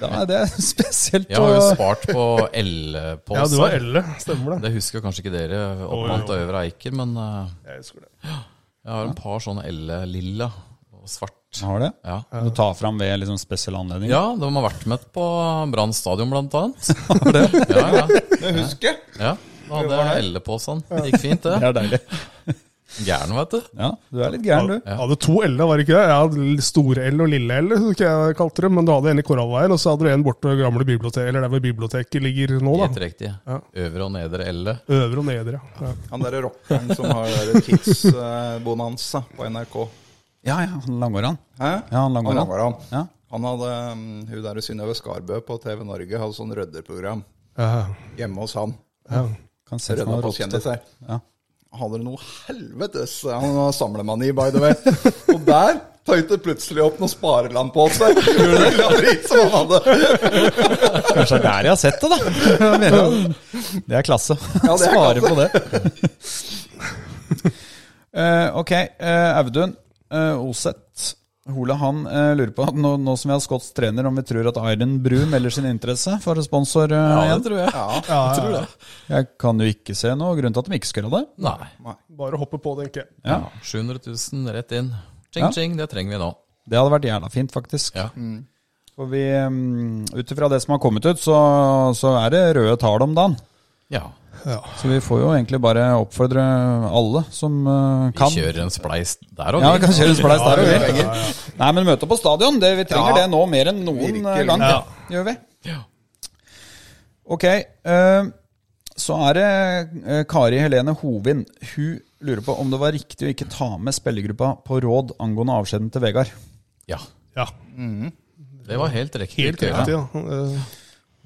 Speaker 2: Da er det spesielt
Speaker 3: Jeg har jo
Speaker 2: å-
Speaker 3: spart på L-pose.
Speaker 4: ja, du var Elle, stemmer det.
Speaker 3: Det husker kanskje ikke dere,
Speaker 4: jo,
Speaker 3: oppmann til
Speaker 4: jo.
Speaker 3: Øvre Eiker, men eh,
Speaker 4: Jeg husker det.
Speaker 3: jeg har et par sånne L-lilla og svart.
Speaker 2: Har det?
Speaker 3: Ja.
Speaker 2: Du tar fram ved liksom spesielle anledninger?
Speaker 3: ja, de har vært med på Brann stadion, blant annet. Har det? Ja, ja.
Speaker 5: Jeg husker.
Speaker 3: ja. Da hadde jeg L-posen. Det gikk fint, det.
Speaker 2: Det er deilig.
Speaker 3: Gæren, vet du.
Speaker 2: Ja, du er litt gæren, du.
Speaker 4: Jeg hadde to L-er, var det ikke det? Jeg hadde store L og lille L, som ikke jeg kalte det. Men du hadde en i Korallveien, og så hadde du en borte ved gamle biblioteket, eller der hvor biblioteket ligger nå,
Speaker 3: Helt
Speaker 4: da.
Speaker 3: riktig. Øvre og nedre L.
Speaker 4: Øvre og nedre. Ja.
Speaker 5: Han derre rockeren som har Kids-bonanza på NRK.
Speaker 2: Ja, ja, han langhåra.
Speaker 5: Hæ?
Speaker 2: Ja, han
Speaker 5: Han
Speaker 2: langhåra.
Speaker 5: langer han.
Speaker 2: Ja.
Speaker 5: Han hadde um, hun der Synnøve Skarbø på TV Norge hadde sånn rødderprogram
Speaker 4: Ja.
Speaker 5: hjemme hos han.
Speaker 2: Kan se for meg
Speaker 5: Rødda på
Speaker 2: rått.
Speaker 5: kjendiser.
Speaker 2: Ja.
Speaker 5: Han hadde noe helvetes eh, Han var samlemani, by the way. Og der tøyte plutselig opp noe spareland på seg. Ulla Britt som han hadde.
Speaker 2: Kanskje det er der jeg har sett det, da. Jeg mener, Det er klasse.
Speaker 5: Ja, det er
Speaker 2: Svare
Speaker 5: klasse.
Speaker 2: på det. Eh, ok, eh, Audun uh, Oseth. Hole han eh, lurer på, nå, nå som vi har skotsk trener, om vi tror at Iron Brew melder sin interesse for sponsor eh,
Speaker 3: Ja, det
Speaker 2: igjen?
Speaker 3: tror jeg.
Speaker 4: Ja, ja, ja.
Speaker 2: Jeg kan jo ikke se noe grunn til at de ikke skal gjøre det.
Speaker 3: Nei.
Speaker 4: Bare hoppe på, tenker jeg.
Speaker 2: Ja.
Speaker 3: 700 000 rett inn.
Speaker 2: Ja.
Speaker 3: Ching, ching, det trenger vi nå.
Speaker 2: Det hadde vært jævla fint, faktisk.
Speaker 3: Ja.
Speaker 2: For vi, um, ut ifra det som har kommet ut, så, så er det røde tall om dagen.
Speaker 3: ja.
Speaker 2: Så vi får jo egentlig bare oppfordre alle som eh,
Speaker 3: Vi
Speaker 2: kan.
Speaker 3: kjører en spleis der og
Speaker 2: Ja, vi kan kjøre en spleis der òg,
Speaker 4: ja,
Speaker 2: vi. Nei, men møte opp på stadion. Det, vi trenger
Speaker 5: Ja.
Speaker 2: det nå mer enn noen
Speaker 5: Virkelig.
Speaker 2: eh, gang.
Speaker 4: Ja.
Speaker 2: Gjør vi.
Speaker 3: Ja.
Speaker 2: Ok. eh, så er det eh, Kari Helene Hovin. Hun lurer på om det var riktig å ikke ta med spillergruppa på råd angående avskjeden til Vegard.
Speaker 3: Ja.
Speaker 4: Ja,
Speaker 3: Det var helt riktig.
Speaker 4: helt
Speaker 3: Ja.
Speaker 4: riktig. Ja. Eh,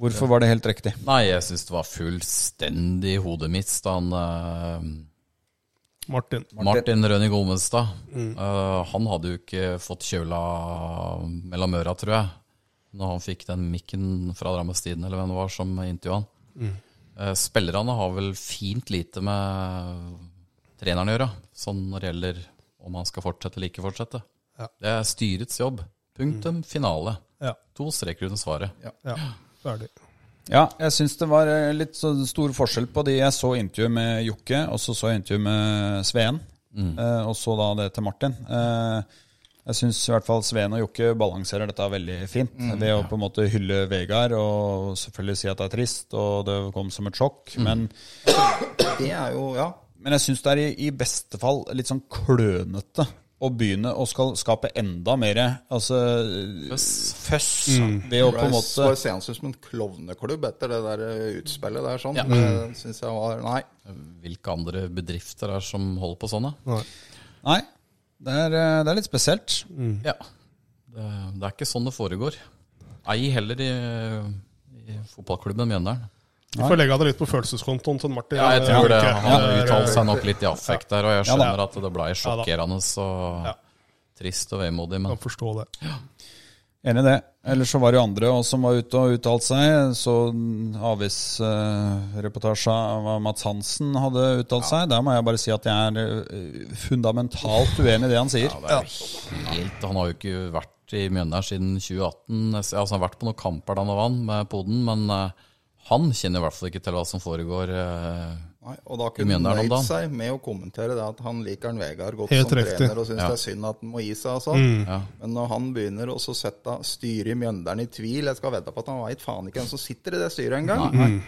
Speaker 2: Hvorfor var det helt riktig?
Speaker 3: Nei, jeg syns det var fullstendig hodet mitt da han eh,
Speaker 4: Martin. Mm.
Speaker 3: Martin Rønning Gomestad eh, Han hadde jo ikke fått kjøla mellom øra, tror jeg, når han fikk den mikken fra Drammens Tidende, eller hvem det var, som intervjua han.
Speaker 4: Mm.
Speaker 3: Eh, spillerne har vel fint lite med treneren å gjøre, sånn når det gjelder om han skal fortsette eller ikke fortsette.
Speaker 4: Ja. Mm.
Speaker 3: Det er styrets jobb. Punktum. Finale.
Speaker 4: Ja,
Speaker 3: To streker under svaret.
Speaker 4: ja. Ferdig.
Speaker 2: Ja, jeg syns det var eh, litt så stor forskjell på de jeg så intervju med Jokke, og så så jeg intervju med Sveen, eh, og så da det til Martin. Eh, Jeg syns i hvert fall Sveen og Jokke balanserer dette veldig fint. Ved å på en måte hylle Vegard og selvfølgelig si at det er trist, og det kom som et sjokk. Men,
Speaker 5: Det er jo Ja.
Speaker 2: men jeg syns det er i, i beste fall litt sånn klønete og begynne å skal skape enda mer altså, føss ved å på en
Speaker 5: Rise
Speaker 2: måte
Speaker 5: var seende ut som en klovneklubb etter det der eh, utspillet der. sånn.
Speaker 3: Ja.
Speaker 4: Mm.
Speaker 5: Det synes jeg var Nei.
Speaker 3: Hvilke andre bedrifter er det som holder på sånn, da?
Speaker 2: Nei, det er, eh, det er litt spesielt.
Speaker 3: Ja. Det, det er ikke sånn det foregår. Ei heller i, i fotballklubben Mjøndalen.
Speaker 4: Vi får legge det litt på følelseskontoen til Martin.
Speaker 3: Ja, jeg tror det.
Speaker 4: Ulrikke.
Speaker 3: Han
Speaker 4: Det er-
Speaker 3: uttalte seg nok litt i affekt der, og jeg
Speaker 2: Ja da.
Speaker 3: skjønner at det ble sjokkerende og
Speaker 4: Ja.
Speaker 3: trist og vemodig,
Speaker 4: Kan
Speaker 3: men
Speaker 4: forstå det.
Speaker 2: Enig i det. Ellers så var det jo andre også som var ute og uttalte seg. Så avisreportasje av Mats Hansen hadde uttalt seg. Der må jeg bare si at jeg er eh, fundamentalt uenig i det han sier.
Speaker 3: det er helt Han har jo ikke vært i Mjøndalen siden 2018. Altså, han har vært på noen kamper da han vant med poden, men eh, han kjenner i hvert fall ikke til hva som foregår. eh.
Speaker 5: nei. Og da
Speaker 3: Du
Speaker 5: kunne
Speaker 3: mener
Speaker 5: han
Speaker 3: det om
Speaker 5: nøyd
Speaker 3: dagen?
Speaker 5: seg med å kommentere det at han liker en Vegard godt
Speaker 4: Helt
Speaker 5: som
Speaker 4: riktig. Mm.
Speaker 5: trener og syns
Speaker 3: Ja.
Speaker 5: det er synd at han må gi seg. og sånn. Men når han begynner også å sette styret i Mjøndalen i tvil Jeg skal vedde på at han veit faen ikke hvem som sitter i det styret engang.
Speaker 4: Mm.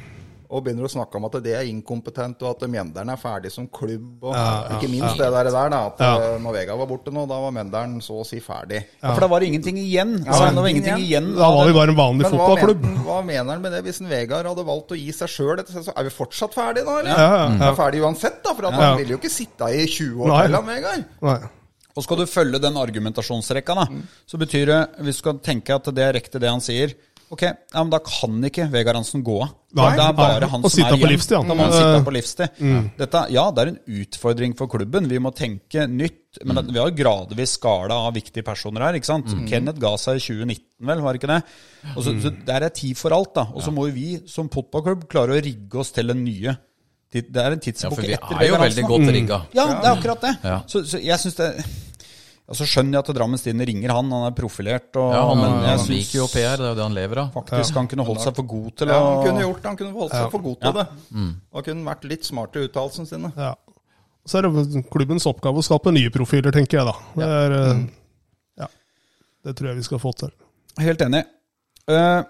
Speaker 5: Og begynner å snakke om at det er inkompetent, og at Mjøndalen er ferdig som klubb. Og ikke minst det der, der da, at eh, når Vegard var borte nå, da var Mjøndalen så å si ferdig.
Speaker 2: Ja, for da var det ingenting igjen. Altså, det var ingenting igjen.
Speaker 4: Da var vi bare en vanlig
Speaker 5: Men hva,
Speaker 4: fotballklubb.
Speaker 5: men, hva mener han med det? Hvis en Vegard hadde valgt å gi seg sjøl dette, så er vi fortsatt ferdig da, eller?
Speaker 4: Ja, ja, ja.
Speaker 5: Vi er ferdig uansett, da, for at
Speaker 4: Ja.
Speaker 5: han ville jo ikke sitte i 20 år
Speaker 4: Nei.
Speaker 5: til, han Vegard.
Speaker 4: Nei.
Speaker 2: Og skal du følge den argumentasjonsrekka, da, så betyr det, hvis du skal tenke at det er riktig det han sier Ok, ja, men da kan ikke Vegard Hansen gå av. Da-
Speaker 4: Nei,
Speaker 2: det er bare
Speaker 4: nei.
Speaker 2: han
Speaker 4: Og
Speaker 2: som
Speaker 4: sitte
Speaker 2: er
Speaker 4: på
Speaker 2: igjen.
Speaker 4: livstid, han.
Speaker 2: Da må han
Speaker 4: Eh,
Speaker 2: sitte på livstid. Dette, ja, det er en utfordring for klubben. Vi må tenke nytt. Men det, vi har jo gradvis skala av viktige personer her. ikke sant? Kenneth ga seg i 2019, vel, var det ikke det? Og så, så Der er tid for alt, da. Og så må jo vi som fotballklubb klare å rigge oss til den nye. Det det er en
Speaker 3: Ja,
Speaker 2: tidsbok
Speaker 3: for vi
Speaker 2: etter
Speaker 3: er
Speaker 2: Vegard
Speaker 3: jo
Speaker 2: Hansen,
Speaker 3: veldig
Speaker 2: da.
Speaker 3: godt rigga.
Speaker 2: Ja, det er akkurat det.
Speaker 3: Ja.
Speaker 2: Så, så jeg synes det Altså skjønner jeg at Drammen Stine ringer han, han er profilert, og,
Speaker 3: Ja, han,
Speaker 2: men jeg
Speaker 3: han
Speaker 2: synes
Speaker 3: liker jo PR, det er jo det han lever av.
Speaker 2: faktisk han kunne holdt seg for god til
Speaker 5: Ja,
Speaker 2: å
Speaker 5: han kunne gjort det, han kunne holdt seg for god til det. Da kunne han vært litt smart i uttalelsene sine.
Speaker 4: Ja. Så er det klubbens oppgave å skape nye profiler, tenker jeg da. Det, er, eh, ja. det tror jeg vi skal få til.
Speaker 2: Helt enig. Eh,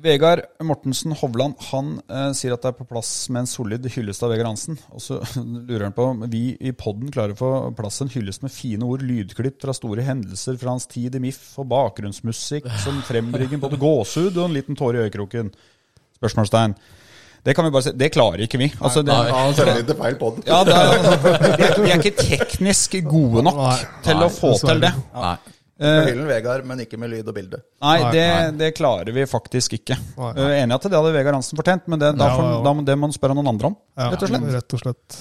Speaker 2: Vegard Mortensen Hovland han eh, sier at det er på plass med en solid hyllest av Vegard Hansen. Og så lurer han på om vi i podden klarer å få plass en hyllest med fine ord, lydklipp fra store hendelser fra hans tid i MIF, og bakgrunnsmusikk som frembringer både gåsehud og en liten tåre i øyekroken. Spørsmålstegn. Det kan vi bare si. Det klarer ikke vi. Altså, det,
Speaker 3: Nei.
Speaker 5: Han sender litt feil på
Speaker 2: ja, det er, vi, er, vi er ikke teknisk gode nok
Speaker 4: Nei.
Speaker 2: til
Speaker 3: Nei,
Speaker 2: å få til det.
Speaker 4: dessverre.
Speaker 3: Nei.
Speaker 5: Hyllen Vegard, men ikke med lyd og bilde.
Speaker 2: Nei,
Speaker 4: Nei.
Speaker 2: det, det klarer vi faktisk ikke.
Speaker 4: Nei.
Speaker 2: Jeg er Enig i at det hadde Vegard Hansen fortjent, men det, da
Speaker 4: Ja,
Speaker 2: får,
Speaker 4: ja, ja.
Speaker 2: Da, må- det må han spørre noen andre om.
Speaker 4: Ja,
Speaker 2: Rett og slett.
Speaker 4: Rett og slett.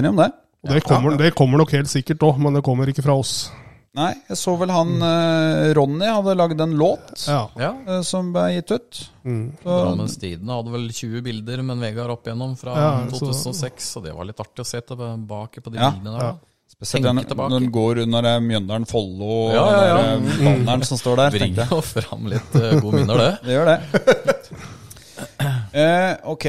Speaker 2: Enig om det?
Speaker 4: Og det, kommer, det kommer nok helt sikkert òg, men det kommer ikke fra oss.
Speaker 2: Nei, jeg så vel han eh, Ronny hadde lagd en låt
Speaker 4: Ja.
Speaker 3: Ja.
Speaker 2: eh, som ble gitt ut. Så,
Speaker 3: Drammens Tidende hadde vel 20 bilder med en Vegard opp igjennom fra
Speaker 4: Ja, så-
Speaker 3: 2006, og det var litt artig å se tilbake på de
Speaker 2: Ja.
Speaker 3: bildene der. da.
Speaker 2: spesielt den,
Speaker 3: tenke tilbake.
Speaker 2: når den går under eh, Mjøndalen, Follo og
Speaker 3: Ja, ja, ja.
Speaker 2: den der, eh, banneren som står der. tenkte
Speaker 3: Bringer
Speaker 2: jeg.
Speaker 3: jo fram litt eh, gode minner, det.
Speaker 2: Det gjør det. eh, ok.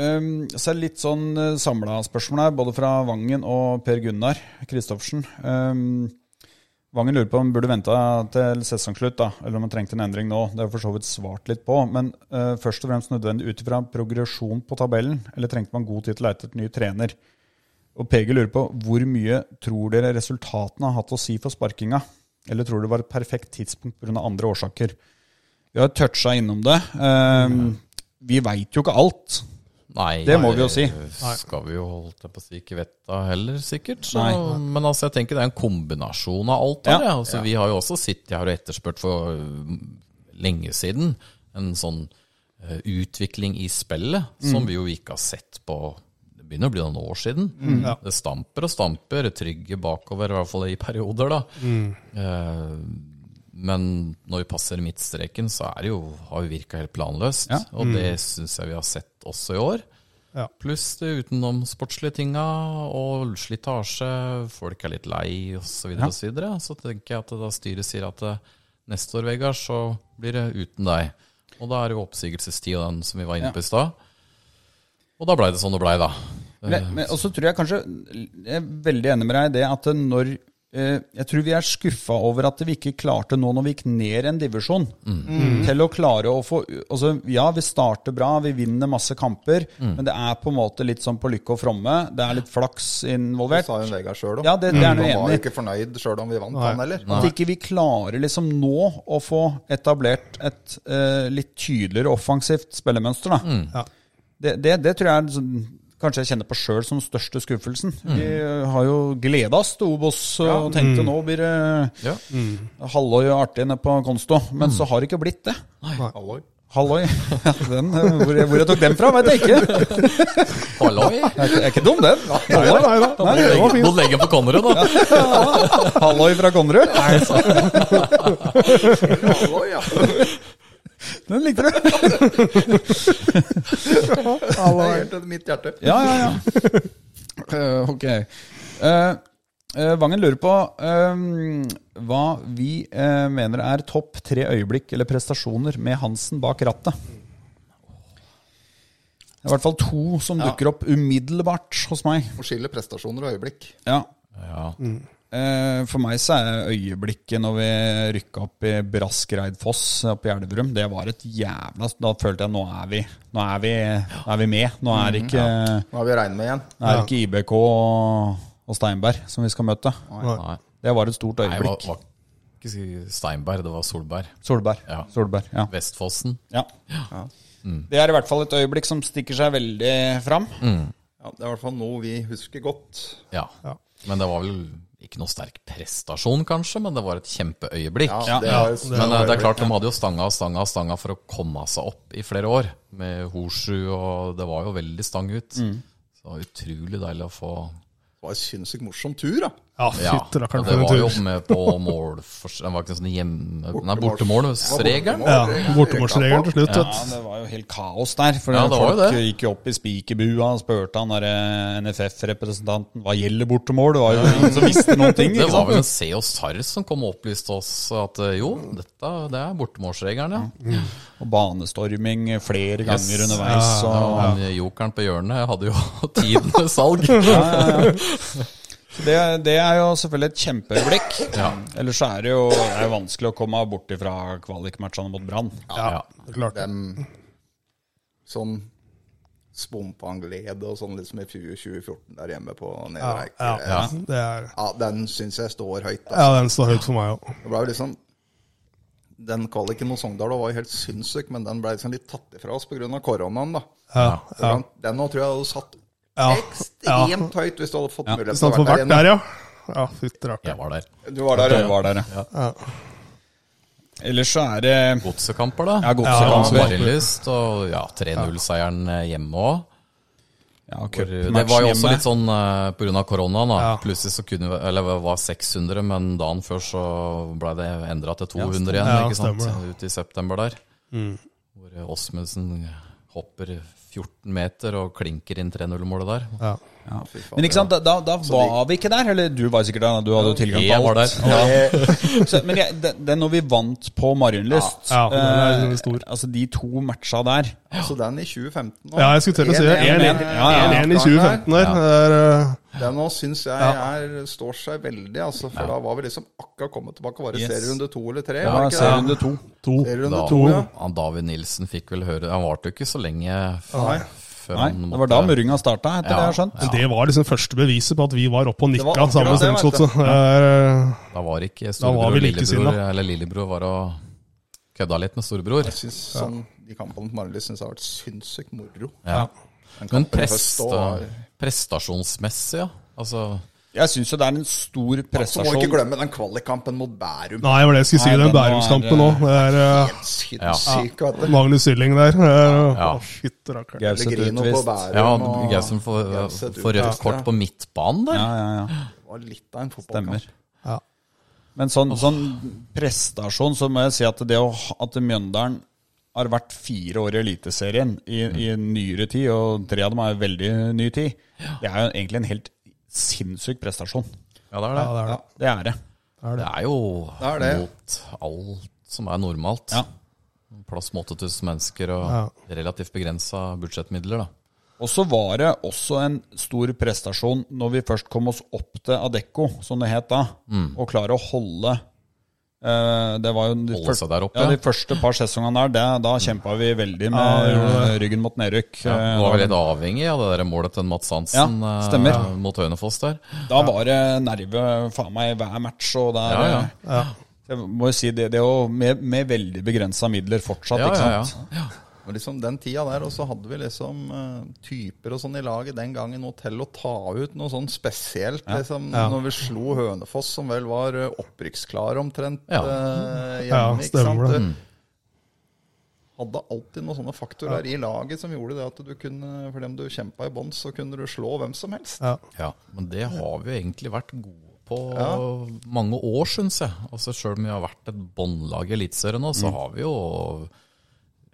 Speaker 2: Um, så er det litt sånn uh, samla spørsmål her, både fra Vangen og Per Gunnar Kristoffersen. Um, Vangen lurer på om han burde venta til sesongslutt, da, eller om han trengte en endring nå. Det er jo for så vidt svart litt på, men eh, først og fremst nødvendig ut ifra progresjon på tabellen, eller trengte man god tid til å leite etter ny trener? Og PG lurer på hvor mye tror dere resultatene har hatt å si for sparkinga? Eller tror du det var et perfekt tidspunkt pga. andre årsaker? Vi har toucha innom det. Ehm, Vi veit jo ikke alt.
Speaker 3: Nei,
Speaker 2: Det må vi jo si.
Speaker 3: Eh, Skal vi jo holdt jeg på å si ikke vett da heller, sikkert. Så, men altså, jeg tenker det er en kombinasjon av alt.
Speaker 2: Ja.
Speaker 3: her, ja. Altså, Vi har jo også sittet her og etterspurt for um, lenge siden en sånn eh, utvikling i spillet som vi jo ikke har sett på det begynner å bli noen år siden.
Speaker 4: Ja.
Speaker 3: Det stamper og stamper, trygge bakover, i hvert fall i perioder, da. Eh, men når vi passer midtstreken, så er det jo, har jo virka helt planløst.
Speaker 2: Ja.
Speaker 3: Og det syns jeg vi har sett også i år.
Speaker 4: Ja.
Speaker 3: Pluss de utenomsportslige tinga og slitasje, folk er litt lei osv. Så, videre og så, videre. så tenker jeg at da styret sier at eh, neste år, Vegard, så blir det uten deg. Og da er det jo oppsigelsestid, og den som vi var inne på i stad. Og da blei det sånn det blei, da.
Speaker 2: Men, men også tror jeg kanskje Jeg er veldig enig med deg i det at når eh, Jeg tror vi er skuffa over at vi ikke klarte nå når vi gikk ned en divisjon, til å klare å få altså, Ja, vi starter bra, vi vinner masse kamper, men det er på en måte litt sånn på lykke og fromme. Det er litt flaks
Speaker 5: Det
Speaker 2: involvert.
Speaker 5: sa jo Vegard sjøl òg.
Speaker 2: Ja, det- det er jeg enig
Speaker 5: Han var
Speaker 2: i.
Speaker 5: jo ikke fornøyd sjøl om vi vant, han heller.
Speaker 2: At ikke vi klarer liksom nå å få etablert et eh, litt tydeligere offensivt spillemønster. Da.
Speaker 4: Ja.
Speaker 2: Det, det, det tror jeg er sånn- kanskje jeg kjenner på sjøl som største skuffelsen.
Speaker 4: Mm.
Speaker 2: Vi eh, har jo gleda oss til Obos og tenkte nå blir det
Speaker 3: Ja.
Speaker 4: Mm.
Speaker 2: halloi og artig nede på Konsto, men så har det ikke blitt det.
Speaker 5: Halloi.
Speaker 2: Halloi. Den, eh, hvor, jeg, hvor jeg tok den fra, veit jeg ikke.
Speaker 3: Halloi!
Speaker 2: Jeg er ikke, jeg er ikke dum, den.
Speaker 4: Nei da, nei da.
Speaker 2: Nei,
Speaker 4: det var fint.
Speaker 3: Må legge på Konrad, da.
Speaker 2: Halloi fra Konrad.
Speaker 5: Halloi, ja.
Speaker 2: Den likte du.
Speaker 5: Det er helt mitt hjerte.
Speaker 2: Ja, ja, ja. Eh, ok. Eh, eh, Vangen lurer på eh, hva vi eh, mener er topp tre øyeblikk eller prestasjoner med Hansen bak rattet. Det er i hvert fall to som dukker opp umiddelbart hos meg.
Speaker 5: Å skille prestasjoner og øyeblikk.
Speaker 2: Ja.
Speaker 3: Ja.
Speaker 4: Mm,
Speaker 2: Eh, For meg så er øyeblikket når vi rykka opp i Braskereidfoss oppe i Elverum, det var et jævla Da følte jeg nå er vi, nå er vi, nå er vi med. Nå er det ikke
Speaker 5: Nå har vi regnet med igjen.
Speaker 2: det er ikke IBK og, og Steinberg som vi skal møte.
Speaker 3: Nei.
Speaker 2: Det var et stort
Speaker 3: Nei, det var,
Speaker 2: øyeblikk.
Speaker 3: var ikke si- Steinberg, det var Solberg.
Speaker 2: Solberg.
Speaker 3: Ja. Mm.
Speaker 2: Solberg, ja.
Speaker 3: Vestfossen.
Speaker 2: ja. Det er i hvert fall et øyeblikk som stikker seg veldig fram.
Speaker 3: Mm.
Speaker 5: Ja, det er i hvert fall noe vi husker godt.
Speaker 3: Ja. Men det var vel ikke noe sterk prestasjon, kanskje, men det var et kjempeøyeblikk.
Speaker 2: Ja.
Speaker 5: Ja, det er, jo-
Speaker 3: Men eh, det er klart, de hadde jo stanga og stanga og stanga for å komme seg opp i flere år. Med Horsrud, og det var jo veldig stang ut.
Speaker 5: Mm.
Speaker 3: Så det var utrolig deilig å få
Speaker 5: det var en sinnssykt morsom tur, da.
Speaker 4: Ja,
Speaker 3: Ja,
Speaker 4: fytti
Speaker 3: og
Speaker 4: rakkeren
Speaker 3: det
Speaker 4: for en
Speaker 3: var jo
Speaker 4: tur.
Speaker 3: med på mål for, Det var ikke sånn hjemme... Nei, bortemålsregelen.
Speaker 4: Ja, Bortemålsregelen til slutt.
Speaker 2: Ja,
Speaker 4: vet du.
Speaker 2: det var jo helt kaos der. For
Speaker 3: Ja, det var jo
Speaker 2: folk
Speaker 3: det.
Speaker 2: gikk jo opp i spikerbua og spurte han derre NFF-representanten hva gjelder bortemål. Det var jo ingen som visste noen ting.
Speaker 3: Det
Speaker 2: ikke
Speaker 3: var
Speaker 2: sant?
Speaker 3: vel en Se og Sars som kom og opplyste oss at eh, jo, dette det er bortemålsregelen, ja.
Speaker 2: Og banestorming flere ganger
Speaker 3: Yes.
Speaker 2: underveis.
Speaker 3: Ja,
Speaker 2: Og,
Speaker 3: han eh, jokeren på hjørnet hadde jo tidenes salg. Ja,
Speaker 2: Så Det, det er jo selvfølgelig et kjempeøyeblikk. Ellers så er det jo det er jo vanskelig å komme bort ifra kvalikmatchene mot Brann.
Speaker 4: Ja, det er klart.
Speaker 5: Den sånn spompanglede og sånn liksom i 2014 der hjemme på
Speaker 4: Ja,
Speaker 5: Nedreik.
Speaker 4: ja,
Speaker 5: Ja.
Speaker 4: det er,
Speaker 5: den syns jeg står høyt.
Speaker 4: ja,
Speaker 5: Altså.
Speaker 4: den står høyt for meg òg.
Speaker 5: Det ble jo liksom Den kvaliken mot Sogndal var jo helt sinnssyk, men den ble liksom litt tatt ifra oss pga. koronaen, da.
Speaker 4: Ja, ja,
Speaker 5: Den- Den nå tror jeg hadde satt
Speaker 4: ja. ja.
Speaker 5: ekstremt høyt hvis du hadde fått mulighet
Speaker 4: Sånn for hvert der, ja. Ja, fytti rakkeren.
Speaker 3: Jeg var der.
Speaker 5: igjen. Du var der,
Speaker 2: Det
Speaker 5: ja.
Speaker 2: var der, ja. Ellers så er det
Speaker 3: Godsekamper, da.
Speaker 2: ja,
Speaker 3: Og
Speaker 2: godsekamper.
Speaker 3: Marienlyst, og ja, 3-0-seieren hjemme òg.
Speaker 2: Ja,
Speaker 3: Det var jo også litt sånn eh, på grunn av koronaen, da.
Speaker 4: Ja.
Speaker 3: Plutselig så kunne vi Eller det var 600, men dagen før så ble det endra til 200 igjen,
Speaker 4: Ja,
Speaker 3: ikke sant?
Speaker 4: stemmer
Speaker 3: Ut i september der. Hvor eh, Osmundsen hopper 14 meter og klinker inn 3-0-målet der.
Speaker 4: Ja.
Speaker 2: Men ikke sant, da, da, da var vi ikke der. Eller du var sikkert der, du hadde jo tilgang
Speaker 3: Jeg
Speaker 2: på
Speaker 3: var
Speaker 2: alt.
Speaker 3: der.
Speaker 2: Så, men jeg, det, det er når vi vant på Marienlyst
Speaker 4: Ja, ja, den er stor.
Speaker 2: eh, Altså de to matcha der.
Speaker 5: Så den i 2015 nå,
Speaker 4: ja, jeg skulle til å si det.
Speaker 5: 1-1.
Speaker 4: 1-1
Speaker 5: ja.
Speaker 4: 1-1 i 2015 der. Det er, eh,
Speaker 5: den nå syns jeg er, står seg veldig, altså. For da var vi liksom akkurat kommet tilbake og var i
Speaker 2: Yes.
Speaker 5: serierunde to eller tre.
Speaker 2: Ja,
Speaker 5: var det ikke det?
Speaker 2: serierunde to.
Speaker 4: to.
Speaker 5: Serierunde
Speaker 3: Da,
Speaker 5: to, ja.
Speaker 3: han David Nilsen fikk vel høre Han varte jo ikke så lenge f-
Speaker 5: Nei.
Speaker 3: før
Speaker 2: Nei,
Speaker 3: han
Speaker 2: det
Speaker 3: måtte
Speaker 2: var da murringa starta, etter
Speaker 3: Ja.
Speaker 2: det jeg har skjønt.
Speaker 4: Men det var liksom første beviset på at vi var oppe og
Speaker 5: Det var
Speaker 4: nikka
Speaker 5: akkurat
Speaker 4: sammen med
Speaker 5: det, vet
Speaker 4: Strømsgodset. Det er, eh,
Speaker 3: Da var ikke
Speaker 4: var
Speaker 3: storebror
Speaker 4: vi
Speaker 3: og
Speaker 4: like
Speaker 3: lillebror
Speaker 4: sinna.
Speaker 3: Eller lillebror var og kødda litt med storebror.
Speaker 5: Jeg synes, sånn, De kampene på Marienlyst syns jeg har vært sinnssykt moro.
Speaker 3: Ja.
Speaker 5: Den
Speaker 3: Men
Speaker 5: kampen i høst
Speaker 3: presta,
Speaker 5: og-
Speaker 3: prestasjonsmessig, ja. Altså
Speaker 2: Jeg syns jo det er en stor
Speaker 5: Så må vi
Speaker 2: prestasjon.
Speaker 5: ikke glemme den kvalikkampen mot Bærum.
Speaker 4: Nei, det var det jeg skulle si.
Speaker 2: Nei,
Speaker 4: Den
Speaker 2: den var-
Speaker 4: Bærumskampen òg. Det er eh,
Speaker 5: Sinnssyk, vet du.
Speaker 4: Magnus Sylling der.
Speaker 3: Ja.
Speaker 4: Ja. Fytti rakkeren.
Speaker 2: Gauseth
Speaker 5: Pellegrino på
Speaker 2: utvist.
Speaker 5: Bærum.
Speaker 3: Ja,
Speaker 5: og-
Speaker 3: Gausum får
Speaker 5: Gauseth
Speaker 3: får rødt
Speaker 5: utvist,
Speaker 3: kort
Speaker 5: ja.
Speaker 3: på midtbanen der.
Speaker 2: Ja, ja, ja.
Speaker 5: Det var litt av en fotballkamp.
Speaker 2: Stemmer.
Speaker 4: Ja.
Speaker 2: Men sånn, sånn prestasjon, så må jeg si at det å, ha- at Mjøndalen har vært fire år i Eliteserien i,
Speaker 3: Mm.
Speaker 2: i nyere tid, og tre av dem er veldig ny tid, det er jo egentlig en helt sinnssyk prestasjon.
Speaker 3: Ja, det er
Speaker 4: Ja,
Speaker 3: det.
Speaker 4: det er det.
Speaker 2: Det er det.
Speaker 3: Det er jo
Speaker 5: Det er det.
Speaker 3: mot alt som er normalt.
Speaker 2: Ja.
Speaker 3: Plass med 8000 mennesker og
Speaker 4: Ja.
Speaker 3: relativt begrensa budsjettmidler, da.
Speaker 2: Og så var det også en stor prestasjon når vi først kom oss opp til Adecco, som det het da,
Speaker 3: Mm.
Speaker 2: og klare å holde eh, det var jo de
Speaker 3: Holde
Speaker 2: fyr-
Speaker 3: seg der oppe,
Speaker 2: Ja,
Speaker 3: ja.
Speaker 2: de første par sesongene der, det, da kjempa vi veldig med eh, ryggen mot nedrykk.
Speaker 3: Ja,
Speaker 2: Eh,
Speaker 3: nå er vi litt avhengig av det der målet til Mats Hansen
Speaker 2: Ja,
Speaker 3: eh,
Speaker 2: stemmer.
Speaker 3: mot Hønefoss der.
Speaker 2: Da var det nerve faen meg hver match. Og det er,
Speaker 3: Ja, ja.
Speaker 2: Jeg må jo si det, det er jo med, med veldig begrensa midler fortsatt,
Speaker 3: Ja,
Speaker 2: ikke
Speaker 3: ja,
Speaker 2: sant?
Speaker 3: ja.
Speaker 5: Og liksom Den tida der, og så hadde vi liksom eh, typer og sånn i laget den gangen og til å ta ut noe sånn spesielt. liksom Når vi slo Hønefoss, som vel var eh, opprykksklare omtrent
Speaker 3: Ja.
Speaker 5: eh, hjemme.
Speaker 4: Ja,
Speaker 5: ikke sant?
Speaker 4: stemmer det. Mm.
Speaker 5: Hadde alltid noen sånne faktorer i laget som gjorde det at du kunne, for dem du kjempa i bånn, så kunne du slå hvem som helst.
Speaker 4: Ja.
Speaker 3: Ja, men det har vi jo egentlig vært gode på mange år, syns jeg. Altså Sjøl om vi har vært et båndlag i Eliteserien nå, så har vi jo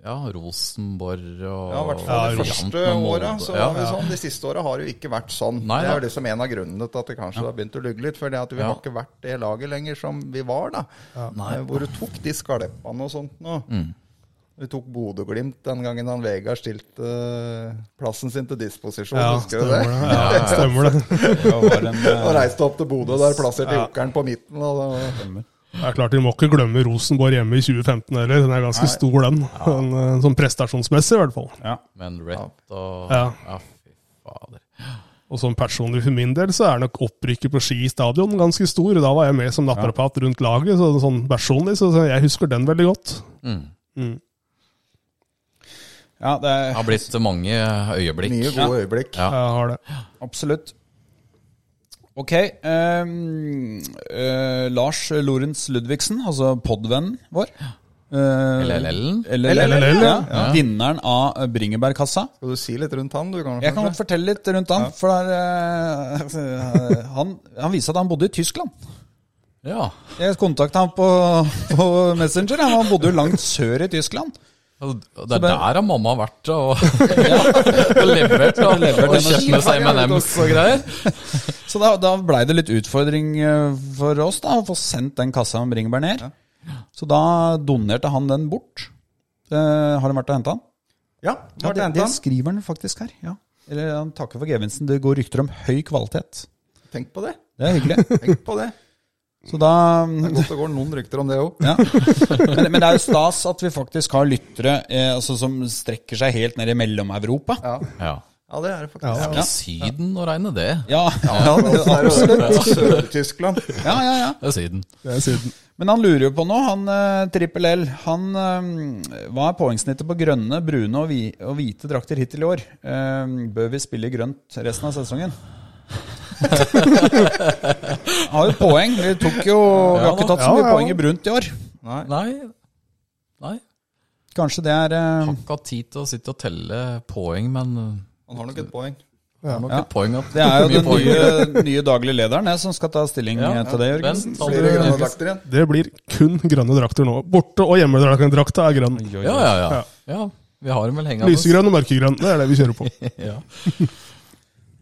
Speaker 3: ja, Rosenborg og
Speaker 5: Ja, I hvert fall de
Speaker 4: Ja,
Speaker 5: første åra. Så var vi sånn. De siste åra har det jo ikke vært sånn.
Speaker 3: Nei,
Speaker 5: det er jo
Speaker 3: da.
Speaker 5: liksom en av grunnene til at det kanskje har begynt å lugge litt. For det at vi
Speaker 3: Ja.
Speaker 5: har ikke vært det laget lenger som vi var, da. Eh, Hvor du tok de skalpene og sånt nå. Vi tok Bodø-Glimt den gangen han Vegard stilte eh, plassen sin til disposisjon,
Speaker 4: Ja,
Speaker 5: husker du
Speaker 4: stemmer
Speaker 5: det?
Speaker 4: det. Ja, stemmer det.
Speaker 2: Det var en, eh,
Speaker 5: Og reiste opp til Bodø, der plasserte jokeren på midten. Og det var
Speaker 4: Det er klart, Vi må ikke glemme Rosenborg hjemme i 2015 heller. Den er ganske stor, den. den eh, sånn prestasjonsmessig, i hvert fall.
Speaker 2: ja.
Speaker 3: Men Rett og
Speaker 4: Ja.
Speaker 3: ja, fy fader.
Speaker 4: Og sånn personlig for min del, så er nok opprykket på Ski stadion ganske stor. Da var jeg med som naprapat rundt laget, så sånn personlig, så så jeg husker den veldig godt.
Speaker 2: ja, det
Speaker 3: Det
Speaker 2: er
Speaker 3: har blitt mange øyeblikk.
Speaker 5: mye gode øyeblikk.
Speaker 3: Ja.
Speaker 4: Jeg har det.
Speaker 2: absolutt. Ok. ehm, eh, Lars Lorentz Ludvigsen, altså podvennen vår. eh,
Speaker 3: LLL-en.
Speaker 2: LLL,
Speaker 4: LLL,
Speaker 2: ja.
Speaker 4: ja.
Speaker 2: Vinneren av Bringebergkassa.
Speaker 5: Skal du si litt rundt han, du? Kan
Speaker 2: Jeg kan godt fortelle litt rundt han. For der, eh, han, han viste at han bodde i Tyskland.
Speaker 3: Ja.
Speaker 2: Jeg kontakta han på, på Messenger. ja, men Han bodde jo langt sør i Tyskland.
Speaker 3: Og Det
Speaker 2: Så
Speaker 3: er
Speaker 2: bare-
Speaker 3: der har mamma har vært og, og levert og,
Speaker 2: Levert
Speaker 3: og
Speaker 2: energi.
Speaker 3: kjøpt med seg M&M's og greier.
Speaker 2: Så da, da blei det litt utfordring eh, for oss da, å få sendt den kassa med bringebær ned. Så da donerte han den bort. Eh, har han vært og henta den?
Speaker 5: Ja,
Speaker 2: Ja,
Speaker 5: Martin
Speaker 2: det,
Speaker 5: Hentan.
Speaker 2: det skriver han faktisk her. ja. Eller Han takker for gevinsten. Det går rykter om høy kvalitet.
Speaker 5: Tenk på det.
Speaker 2: Det er hyggelig.
Speaker 5: Tenk på det.
Speaker 2: Så da
Speaker 5: Det er godt det går noen rykter om det òg.
Speaker 2: ja. men, men det er jo stas at vi faktisk har lyttere eh, altså, som strekker seg helt ned i Mellom-Europa.
Speaker 5: Ja.
Speaker 3: Ja.
Speaker 5: ja, det er det faktisk.
Speaker 4: Ja.
Speaker 3: Det er vel Syden å regne det.
Speaker 2: Ja, ja,
Speaker 5: Ja,
Speaker 2: ja,
Speaker 5: Sør-Tyskland.
Speaker 2: ja, ja.
Speaker 3: Det er Syden.
Speaker 4: Det er siden.
Speaker 2: Men han lurer jo på noe, han eh, Trippel L. Han, eh, hva er poengsnittet på grønne, brune og, hvi- og hvite drakter hittil i år? Eh, bør vi spille i grønt resten av sesongen? Han har jo poeng. Vi, tok jo, vi har ikke tatt så
Speaker 4: Ja,
Speaker 2: mye
Speaker 4: ja, ja.
Speaker 2: poeng i brunt i år.
Speaker 5: Nei.
Speaker 3: Nei. Nei.
Speaker 2: Kanskje det er eh,
Speaker 3: Har ikke hatt tid til å sitte og telle poeng, men
Speaker 5: Han har nok et poeng.
Speaker 3: det er nok
Speaker 2: Ja.
Speaker 3: et poeng at
Speaker 2: Det er jo
Speaker 3: mye
Speaker 2: den nye, nye daglige lederen jeg, som skal ta stilling
Speaker 3: Ja,
Speaker 2: eh, til det,
Speaker 3: ja.
Speaker 2: Jørgensen.
Speaker 3: Den tar
Speaker 5: Blir det grønne drakter igjen?
Speaker 4: Det blir kun grønne drakter nå. Borte- og hjemmedrakta er grønn.
Speaker 3: Ja, ja, ja. ja. Vi har dem vel hengende.
Speaker 4: Lysegrønn og mørkegrønn, det er det vi kjører på.
Speaker 3: Ja.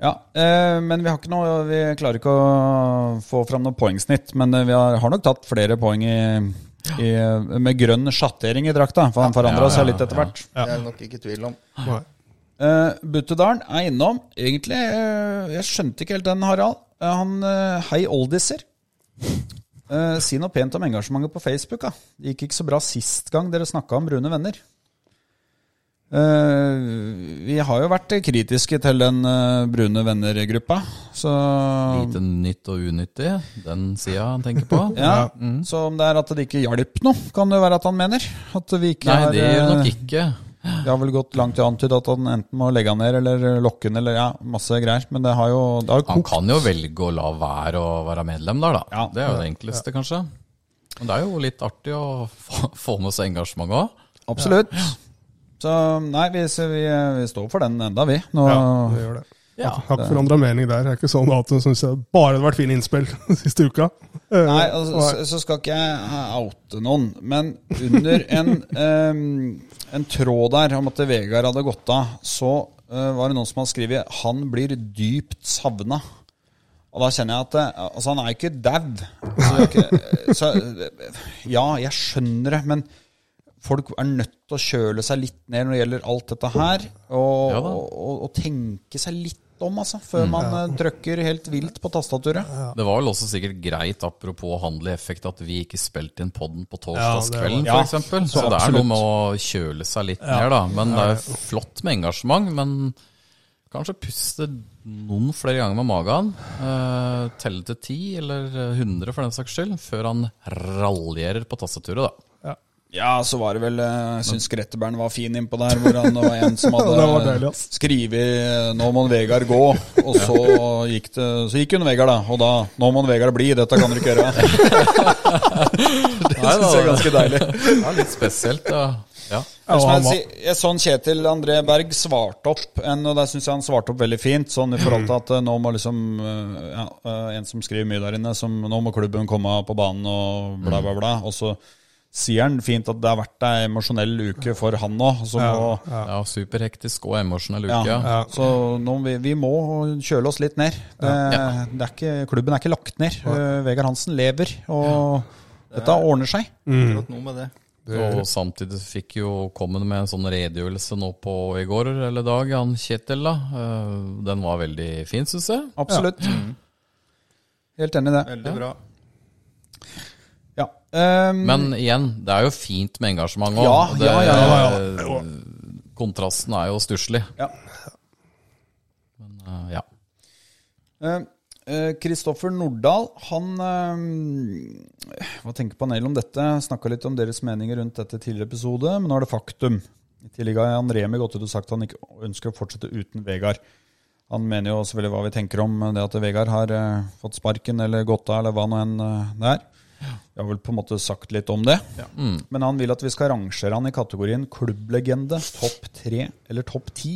Speaker 2: Ja, eh, men vi har ikke noe Vi klarer ikke å få fram noe poengsnitt, men eh, vi har, har nok tatt flere poeng i, i, med grønn sjattering i drakta, for han forandra
Speaker 3: Ja, ja,
Speaker 2: seg litt etter
Speaker 3: ja.
Speaker 2: hvert.
Speaker 5: Det er det nok ikke tvil om.
Speaker 4: Nei.
Speaker 2: Eh, Buttedalen er innom. Egentlig eh, Jeg skjønte ikke helt den, Harald. Eh, han eh, Hei, oldiser. Eh, si noe pent om engasjementet på Facebook. da Det gikk ikke så bra sist gang dere snakka om brune venner. Eh, vi har jo vært kritiske til den eh, brune venner-gruppa, så
Speaker 3: Lite nytt og unyttig, den sida han tenker på.
Speaker 2: ja,
Speaker 3: mm.
Speaker 2: Så om det er at det ikke hjalp noe, kan det jo være at han mener. At vi ikke
Speaker 3: Nei,
Speaker 2: har,
Speaker 3: det gjør
Speaker 2: eh,
Speaker 3: nok ikke.
Speaker 2: Det har vel gått langt i å antyde at han enten må legge han ned eller lokke han eller ja, masse greier. Men det har jo, det har jo
Speaker 3: Han
Speaker 2: kokt.
Speaker 3: kan jo velge å la være å være medlem der, da.
Speaker 2: Ja.
Speaker 3: Det er jo det enkleste, kanskje. Men det er jo litt artig å få få med seg engasjementet òg.
Speaker 2: Absolutt. Så nei, vi, så vi, vi står for den enda, vi. Nå,
Speaker 4: Ja, det gjør det.
Speaker 3: Ja.
Speaker 4: Har ikke forandra mening der. Det er ikke sånn at hun syns det bare hadde vært fine innspill siste uka. Eh,
Speaker 2: Nei, altså, så, så skal ikke jeg oute noen, men under en, em, en tråd der om at Vegard hadde gått av, så eh, var det noen som hadde skrevet 'Han blir dypt savna'. Og da kjenner jeg at eh, Altså, han er jo ikke dau. Så jeg ikke- Så eh, ja, jeg skjønner det, men folk er nødt til å kjøle seg litt ned når det gjelder alt dette her. Og,
Speaker 3: Ja da.
Speaker 2: og, og, og tenke seg litt om, altså, før man eh, trykker helt vilt på tastaturet.
Speaker 3: Det var vel også sikkert greit, apropos handel i effekt, at vi ikke spilte inn podden på
Speaker 4: Ja,
Speaker 3: torsdagskvelden,
Speaker 4: det
Speaker 2: var-
Speaker 3: for eksempel.
Speaker 2: så
Speaker 3: Så det er
Speaker 2: absolutt.
Speaker 3: noe med å kjøle seg litt ned, da. Men det er flott med engasjement. Men kanskje puste noen flere ganger med magen. eh, telle til ti, eller 100 for den saks skyld, før han raljerer på tastaturet, da.
Speaker 2: Ja, så var det vel eh, Jeg syns Gretteberg var fin innpå der, hvor han det var en som hadde
Speaker 4: Det var deilig, ass.
Speaker 2: skrevet eh, 'Nå må Vegard gå', og så gikk, det, så gikk hun Vegard, da. Og da 'Nå må Vegard bli, dette kan du ikke gjøre'. Det
Speaker 3: Nei,
Speaker 2: syns jeg er
Speaker 3: da.
Speaker 2: ganske deilig.
Speaker 3: Det er litt spesielt, da. Ja.
Speaker 4: Ja, og
Speaker 2: Som
Speaker 4: han
Speaker 2: jeg, si- jeg så Kjetil André Berg svarte opp, en, og der syns jeg han svarte opp veldig fint. Sånn i forhold til at eh, nå må liksom eh, ja, eh, En som skriver mye der inne, som nå må klubben komme på banen og bla, bla, bla. Og så sier han fint at det har vært ei emosjonell uke for han òg. Så, må-
Speaker 3: Ja, superhektisk og emosjonell uke.
Speaker 2: ja,
Speaker 3: Ja.
Speaker 2: så nå, vi, vi må kjøle oss litt ned. Det, det er ikke, klubben er ikke lagt ned. Eh, Vegard Hansen lever, og dette ordner seg.
Speaker 4: Mm.
Speaker 5: Akkurat noe med det.
Speaker 3: Og samtidig så fikk jo Kommen med en sånn redegjørelse nå på i går eller i dag, han Kjetil, da. Eh, Den var veldig fin, syns jeg.
Speaker 2: Absolutt. Helt enig i det.
Speaker 5: Veldig bra.
Speaker 2: Ja. Ehm,
Speaker 3: Men igjen, det er jo fint med engasjement
Speaker 2: Ja,
Speaker 3: òg.
Speaker 2: ja, ja,
Speaker 3: Kontrasten er jo stusslig.
Speaker 2: Ja.
Speaker 3: Eh, Ja.
Speaker 2: Eh, eh, Kristoffer Nordahl, han eh, Hva tenker panelet om dette? Snakka litt om deres meninger rundt dette tidligere episode, men nå er det faktum. I tillegg har Jan Remi gått ut og sagt at han ikke ønsker å fortsette uten Vegard. Han mener jo selvfølgelig hva vi tenker om det at Vegard har eh, fått sparken eller gått av, eller hva nå enn eh, det er. Vi har vel på en måte sagt litt om det. Men han vil at vi skal rangere han i kategorien klubblegende topp tre eller topp ti.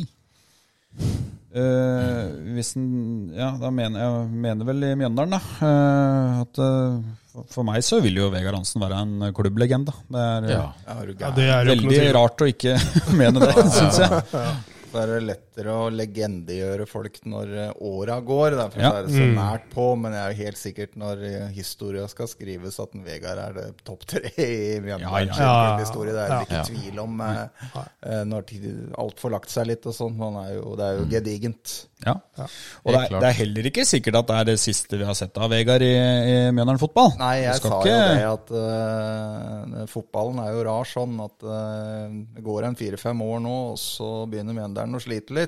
Speaker 2: Eh, hvis en Ja, da mener jeg mener vel i Mjøndalen, da. eh, at eh, for- for meg så vil jo Vegard Hansen være en eh, klubblegende. Det er eh,
Speaker 3: ja.
Speaker 5: Ja, er du
Speaker 4: Ja,
Speaker 5: gæren?
Speaker 4: det er jo ikke noe
Speaker 2: veldig
Speaker 4: tvil om.
Speaker 2: rart å ikke mene det, syns jeg.
Speaker 5: Så er det lettere å legendegjøre folk når eh, åra går. Derfor
Speaker 2: Ja.
Speaker 5: så er det så
Speaker 4: Mm.
Speaker 5: nært på. Men jeg er jo helt sikkert når eh, historia skal skrives, at en Vegard er det topp tre i Mjøndalen.
Speaker 4: ja, ja.
Speaker 5: Historie, det er det
Speaker 3: Ja.
Speaker 5: ikke tvil om. Eh, eh, når tid- alt får lagt seg litt og sånn. Han er jo, det er
Speaker 4: Mm.
Speaker 5: jo gedigent.
Speaker 2: Ja. Og det
Speaker 3: Helt
Speaker 2: er,
Speaker 3: klart.
Speaker 2: det er heller ikke sikkert at det er det siste vi har sett av Vegard i, i Mjøndalen fotball.
Speaker 5: Nei, jeg
Speaker 2: skal
Speaker 5: sa jo
Speaker 2: ikke-
Speaker 5: det at eh, fotballen er jo rar sånn at eh, det går en fire-fem år nå, og så begynner Mjøndalen å slite litt.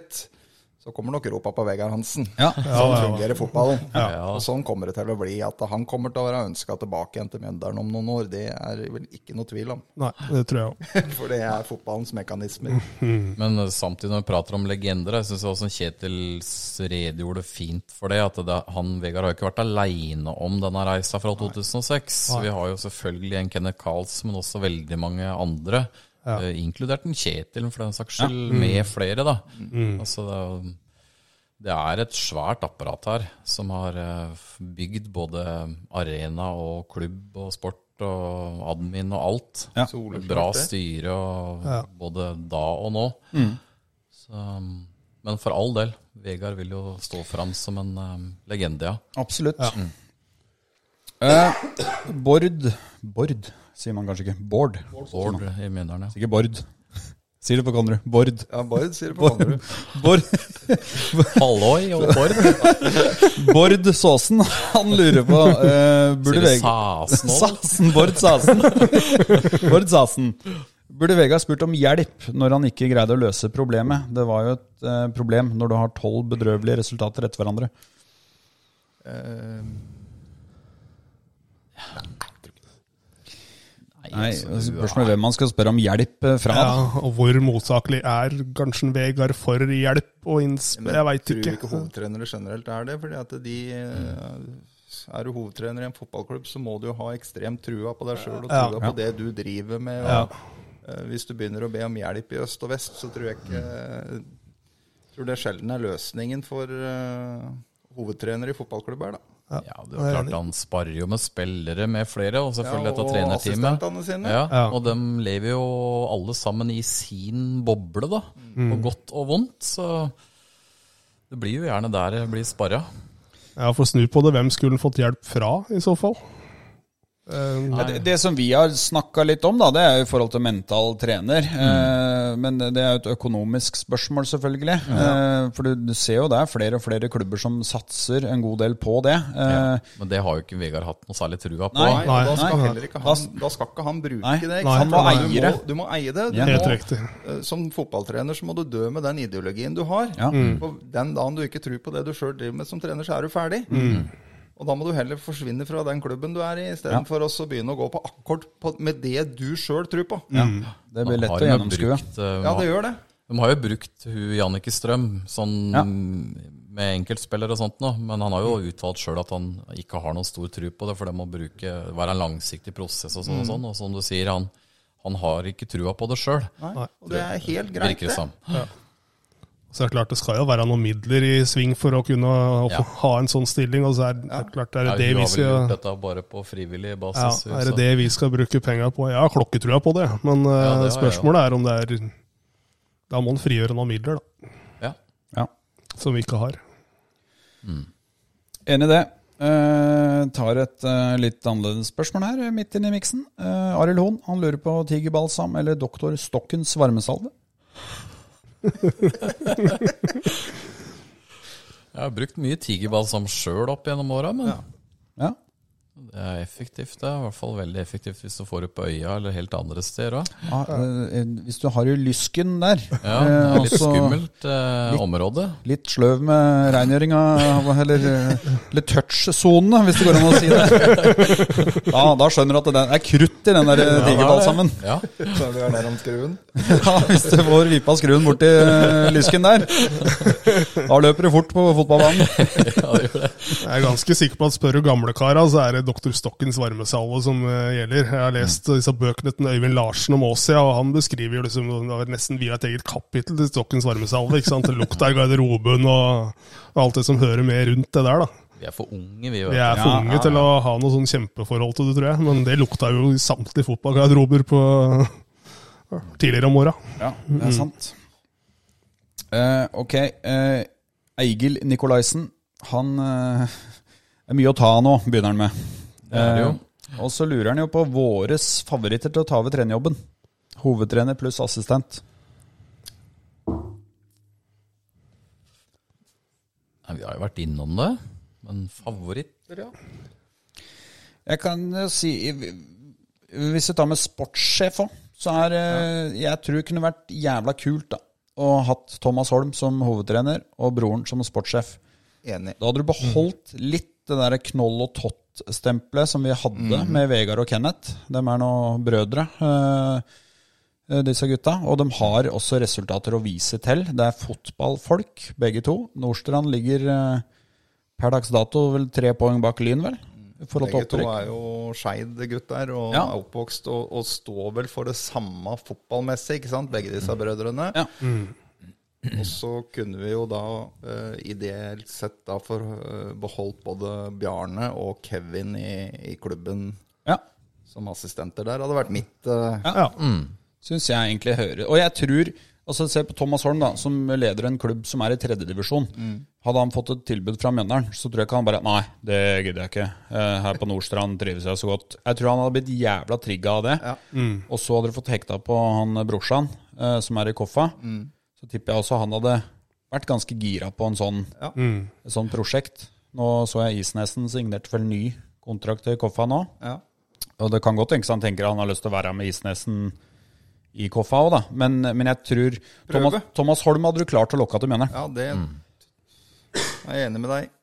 Speaker 5: Så kommer nok ropa på Vegard Hansen.
Speaker 2: Ja.
Speaker 5: Sånn
Speaker 4: ja, ja.
Speaker 5: fungerer fotballen.
Speaker 3: Ja.
Speaker 5: Og sånn kommer det til å bli. At han kommer til å være ønska tilbake igjen til Mjøndalen om noen år, det er vel ikke noe tvil om.
Speaker 4: Nei, det tror jeg òg.
Speaker 5: For det er fotballens mekanismer.
Speaker 3: Men eh, samtidig når vi prater om legender, jeg syns også Kjetil redegjorde fint for det. At det, han Vegard har jo ikke vært aleine om denne reisa fra 2006. Vi har jo selvfølgelig en Kenneth Carlsen, men også veldig mange andre. eh, Inkludert en Kjetil, for den saks skyld, med flere, da. Altså, det, er jo- det er et svært apparat her som har eh, bygd både arena og klubb og sport og admin og alt.
Speaker 2: Ja.
Speaker 5: Soleklart
Speaker 3: Bra
Speaker 5: det.
Speaker 3: styre og
Speaker 4: Ja.
Speaker 3: både da og nå. Så, um, men for all del, Vegard vil jo stå fram som en um, legende, ja.
Speaker 2: Absolutt. Mm. Eh, Bård Bård, sier man kanskje ikke. Bård.
Speaker 3: Bård i Mjøndalen, ja.
Speaker 2: Ikke Bård. Sier det på Konrad. Bård.
Speaker 5: Ja, Bård sier det på andre.
Speaker 2: Bård.
Speaker 3: Halloi og Bård!
Speaker 2: Bård Saasen, han lurer på eh,
Speaker 3: Sier
Speaker 2: Burde
Speaker 3: det
Speaker 2: Vegard
Speaker 3: Sasnål?
Speaker 2: Saasen, Bård Saasen. Bård Saasen. Burde Vegard spurt om hjelp når han ikke greide å løse problemet? Det var jo et eh, problem når du har tolv bedrøvelige resultater etter hverandre.
Speaker 5: Eh,
Speaker 2: Nei, Spørs med hvem man skal spørre om hjelp eh, fra.
Speaker 4: Ja,
Speaker 2: da.
Speaker 4: og hvor motsakelig er kanskje Vegard for hjelp og innspill?
Speaker 5: Men
Speaker 4: Jeg veit
Speaker 5: Tror ikke
Speaker 4: ikke. Mm.
Speaker 5: hovedtrenere generelt er det. fordi at de eh, Er du hovedtrener i en fotballklubb, så må du jo ha ekstremt trua på deg sjøl og
Speaker 4: Ja.
Speaker 5: trua på det du driver med. Og, eh, Hvis du begynner å be om hjelp i øst og vest, så tror jeg ikke eh, tror det sjelden er løsningen for eh, hovedtrenere i fotballklubber. da.
Speaker 3: Ja, det er jo klart Han sparer jo med spillere med flere, og selvfølgelig dette
Speaker 5: og
Speaker 3: trenerteamet.
Speaker 5: assistentene sine.
Speaker 3: Ja,
Speaker 4: Ja.
Speaker 3: Og dem lever jo alle sammen i sin boble, da.
Speaker 2: Mm.
Speaker 3: På godt og vondt. Så det blir jo gjerne der det blir sparra.
Speaker 4: Ja, For snu på det, hvem skulle han fått hjelp fra, i så fall? Eh,
Speaker 2: Ja, det, det som vi har snakka litt om, da, det er jo i forhold til mental trener.
Speaker 3: Mm.
Speaker 2: Eh, men det det er jo et økonomisk spørsmål, selvfølgelig. Eh, for du, du ser jo det er flere og flere klubber som satser en god del på det. Eh,
Speaker 3: Men det har jo ikke Vegard hatt noe særlig trua på.
Speaker 5: Nei,
Speaker 2: Nei,
Speaker 5: og
Speaker 4: nei.
Speaker 5: da skal
Speaker 4: Nei.
Speaker 5: heller ikke han, da skal ikke han bruke
Speaker 2: Nei,
Speaker 5: det. Ikke sant?
Speaker 4: nei, han må
Speaker 5: Du
Speaker 2: eie det.
Speaker 5: Du må eie det. Du
Speaker 2: Ja.
Speaker 4: Helt
Speaker 5: må,
Speaker 4: riktig.
Speaker 5: eh, som fotballtrener så må du dø med den ideologien du har.
Speaker 2: Ja.
Speaker 5: For den dagen du ikke tror på det du sjøl driver med som trener, så er du ferdig. Og da må du heller forsvinne fra den klubben du er i, istedenfor ja. å begynne å gå på akkord på, med det du sjøl tror på. Ja.
Speaker 2: Det blir
Speaker 3: Han
Speaker 2: lett
Speaker 3: Mm.
Speaker 2: å
Speaker 3: har jo
Speaker 2: gjennomskue.
Speaker 3: brukt, eh,
Speaker 5: det gjør det.
Speaker 3: De har jo brukt hun Jannicke Strøm sånn,
Speaker 2: Ja.
Speaker 3: med enkeltspillere og sånt nå, men han har jo uttalt sjøl at han ikke har noen stor tro på det, for det må bruke, være en langsiktig prosess og
Speaker 2: Mm.
Speaker 3: sånn. Og sånn, og som du sier, han, han har ikke trua på det sjøl,
Speaker 5: Nei. Og det er helt greit,
Speaker 3: virker det
Speaker 5: det.
Speaker 3: som.
Speaker 4: Så det er klart det skal jo være noen midler i sving for å kunne
Speaker 3: Ja.
Speaker 4: ha en sånn stilling. Og så er det er klart er
Speaker 3: Ja,
Speaker 4: det det
Speaker 3: hun har
Speaker 4: vi
Speaker 3: vel
Speaker 4: skal
Speaker 3: gjort dette bare på frivillig
Speaker 4: ja,
Speaker 3: basis. hun,
Speaker 4: er det
Speaker 3: så-
Speaker 4: det vi skal bruke penga på? Jeg har klokketrua på det, men
Speaker 3: Ja,
Speaker 4: eh,
Speaker 3: det har jeg
Speaker 4: spørsmålet er om det er Da må en frigjøre noen midler, da,
Speaker 3: Ja.
Speaker 2: Ja.
Speaker 4: som vi ikke har.
Speaker 2: Enig i det. Eh, tar et eh, litt annerledes spørsmål her, eh, midt inne i miksen. Eh, Arild Hoen han lurer på tigerbalsam eller doktor Stokkens varmesalve.
Speaker 3: Jeg har brukt mye tigerbalsam sjøl opp gjennom åra, men
Speaker 2: Ja.
Speaker 3: det er effektivt. Det er i hvert fall veldig effektivt hvis du får det på øya eller helt andre steder òg.
Speaker 2: Ja, eh, hvis du har i lysken der
Speaker 3: Ja, det
Speaker 2: eh,
Speaker 3: er litt
Speaker 2: også-
Speaker 3: skummelt eh, område.
Speaker 2: Litt sløv med rengjøringa, eller eh, litt touch-sonene, hvis det går an å si det. Ja, da skjønner du at det er krutt i den der eh, digerbalsamen.
Speaker 3: Ja.
Speaker 5: Så er det der nede om skruen.
Speaker 2: Ja, hvis du får vipa skruen borti lysken der. Da løper du fort på fotballbanen.
Speaker 4: Jeg er ganske sikker på at spør du gamlekara, så er det Dr. Stokkens varmesalve som eh, gjelder. Jeg har lest
Speaker 3: Mm.
Speaker 4: eh, disse bøkene til Øyvind Larsen om Åsia, og han beskriver jo liksom det var nesten via et eget kapittel til Stokkens varmesalve. ikke sant? Det Lukta i garderoben og, og alt det som hører med rundt det der, da.
Speaker 3: Vi er for unge, vi. vet
Speaker 4: Vi er for
Speaker 2: Ja, ja,
Speaker 4: unge
Speaker 2: ja.
Speaker 4: til å ha noe sånn kjempeforhold til det, tror jeg. Men det lukta jo i samtlige fotballgarderober på tidligere om åra.
Speaker 2: Ja, det er sant. Eh, ok. eh, Eigil Nikolaisen, han eh, er mye å ta av nå, begynner han med.
Speaker 3: Det er det jo.
Speaker 2: Eh, og så lurer han jo på våres favoritter til å ta over trenerjobben. Hovedtrener pluss assistent.
Speaker 3: Nei, vi har jo vært innom det. Men favoritter, ja.
Speaker 2: Jeg kan jo si Hvis vi tar med sportssjef òg, så er eh, Jeg tror det kunne vært jævla kult da å ha hatt Thomas Holm som hovedtrener og broren som sportssjef.
Speaker 5: Enig.
Speaker 2: Da hadde du beholdt
Speaker 5: Mm.
Speaker 2: litt det der knoll og tott-stempelet som vi hadde
Speaker 5: Mm.
Speaker 2: med Vegard og Kenneth. De er nå brødre, eh, eh, disse gutta. Og de har også resultater å vise til. Det er fotballfolk, begge to. Nordstrand ligger eh, per dags dato vel tre poeng bak Lyn, vel? I forhold til
Speaker 5: Begge to
Speaker 2: opprykk.
Speaker 5: er jo Skeid-gutter og
Speaker 2: Ja.
Speaker 5: er oppvokst og, og står vel for det samme fotballmessig, ikke sant? begge disse brødrene.
Speaker 2: Mm.
Speaker 5: Mm.
Speaker 2: Ja.
Speaker 5: Og så kunne vi jo da eh, ideelt sett da for, eh, beholdt både Bjarne og Kevin i, i klubben
Speaker 2: Ja,
Speaker 5: som assistenter der. hadde vært mitt eh,
Speaker 2: Ja. syns jeg egentlig hører. Og jeg tror Altså Se på Thomas Holm, da, som leder en klubb som er i tredjedivisjon.
Speaker 5: Mm.
Speaker 2: Hadde han fått et tilbud fra Mjøndalen, så tror jeg ikke han bare Nei, det gidder jeg ikke. Eh, Her på Nordstrand trives jeg så godt. Jeg tror han hadde blitt jævla trigga av det.
Speaker 5: Ja.
Speaker 2: Og så hadde du fått hekta på han brorsan, eh, som er i Koffa.
Speaker 5: Mm.
Speaker 2: Så tipper jeg også han hadde vært ganske gira på en sånn,
Speaker 5: Ja.
Speaker 2: et sånt prosjekt. Nå så jeg Isnesen signerte vel ny kontrakt til Koffa nå.
Speaker 5: ja.
Speaker 2: Og det kan godt tenkes han tenker han har lyst til å være med Isnesen i Koffa òg, da. Men, men jeg tror Thomas, Thomas Holm hadde du klart å lokke til mener.
Speaker 5: ja, det
Speaker 2: Mm.
Speaker 5: er jeg enig med deg i.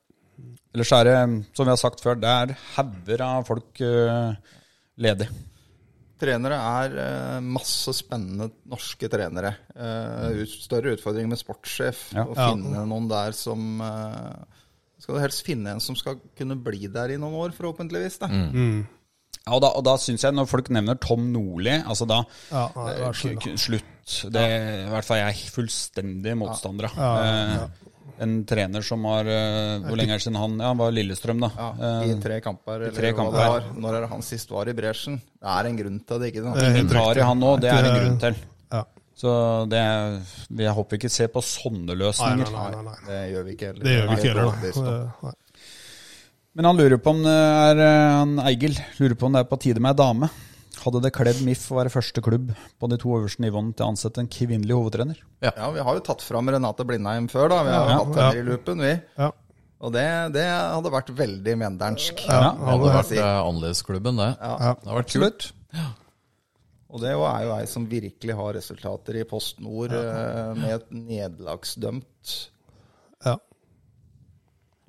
Speaker 2: Ellers er det, som vi har sagt før, det er hauger av folk eh, ledig.
Speaker 5: Trenere er eh, masse spennende norske trenere. Eh, ut, større utfordring med sportssjef.
Speaker 2: Ja.
Speaker 5: Å
Speaker 4: Ja.
Speaker 5: finne noen der som eh, Skal du helst finne en som skal kunne bli der i noen år, forhåpentligvis. Da.
Speaker 2: Ja, og da, og da syns jeg, når folk nevner Tom Nordli, altså da
Speaker 4: Ja, ja, det
Speaker 2: eh,
Speaker 4: var sånn,
Speaker 2: k- k- Slutt. Det, I hvert fall jeg er fullstendig motstander av.
Speaker 4: ja.
Speaker 2: Eh, en trener som har eh, Hvor lenge er det siden han Ja, han var Lillestrøm, da.
Speaker 5: Ja,
Speaker 2: Eh,
Speaker 5: I tre kamper, eller
Speaker 2: tre
Speaker 5: hva
Speaker 2: kamper.
Speaker 5: det var. Når er det han sist var i bresjen? Det er en grunn til det, ikke sant?
Speaker 4: Eh,
Speaker 2: Ingen tar i han nå, det er en grunn til.
Speaker 4: Ja.
Speaker 2: Så det er, jeg håper vi ikke ser på sånne
Speaker 4: Nei,
Speaker 2: løsninger.
Speaker 4: nei, nei, nei, nei.
Speaker 5: Det gjør vi ikke heller.
Speaker 4: Det gjør vi
Speaker 5: Nei,
Speaker 4: ikke
Speaker 5: det er
Speaker 4: heller,
Speaker 5: overbevist om.
Speaker 4: da. Eh, nei.
Speaker 2: Men han lurer på om det er eh, Han Eigil lurer på om det er på tide med ei dame. Hadde det kledd MIF å være første klubb på de to øverste nivåene til å ansette en kvinnelig hovedtrener?
Speaker 5: Ja, vi har jo tatt fram Renate Blindheim før, da. Vi har jo
Speaker 4: Ja,
Speaker 5: hatt henne
Speaker 4: ja.
Speaker 5: i loopen, vi.
Speaker 4: Ja.
Speaker 5: Og det, det hadde vært veldig mendernsk.
Speaker 2: Ja,
Speaker 3: Det hadde
Speaker 5: jeg
Speaker 3: vært
Speaker 5: si.
Speaker 3: eh, annerledesklubben, det.
Speaker 5: Ja.
Speaker 3: Det hadde vært kult.
Speaker 5: Og det er jo ei som virkelig har resultater i Post Nord, eh, med et nederlagsdømt
Speaker 4: Ja.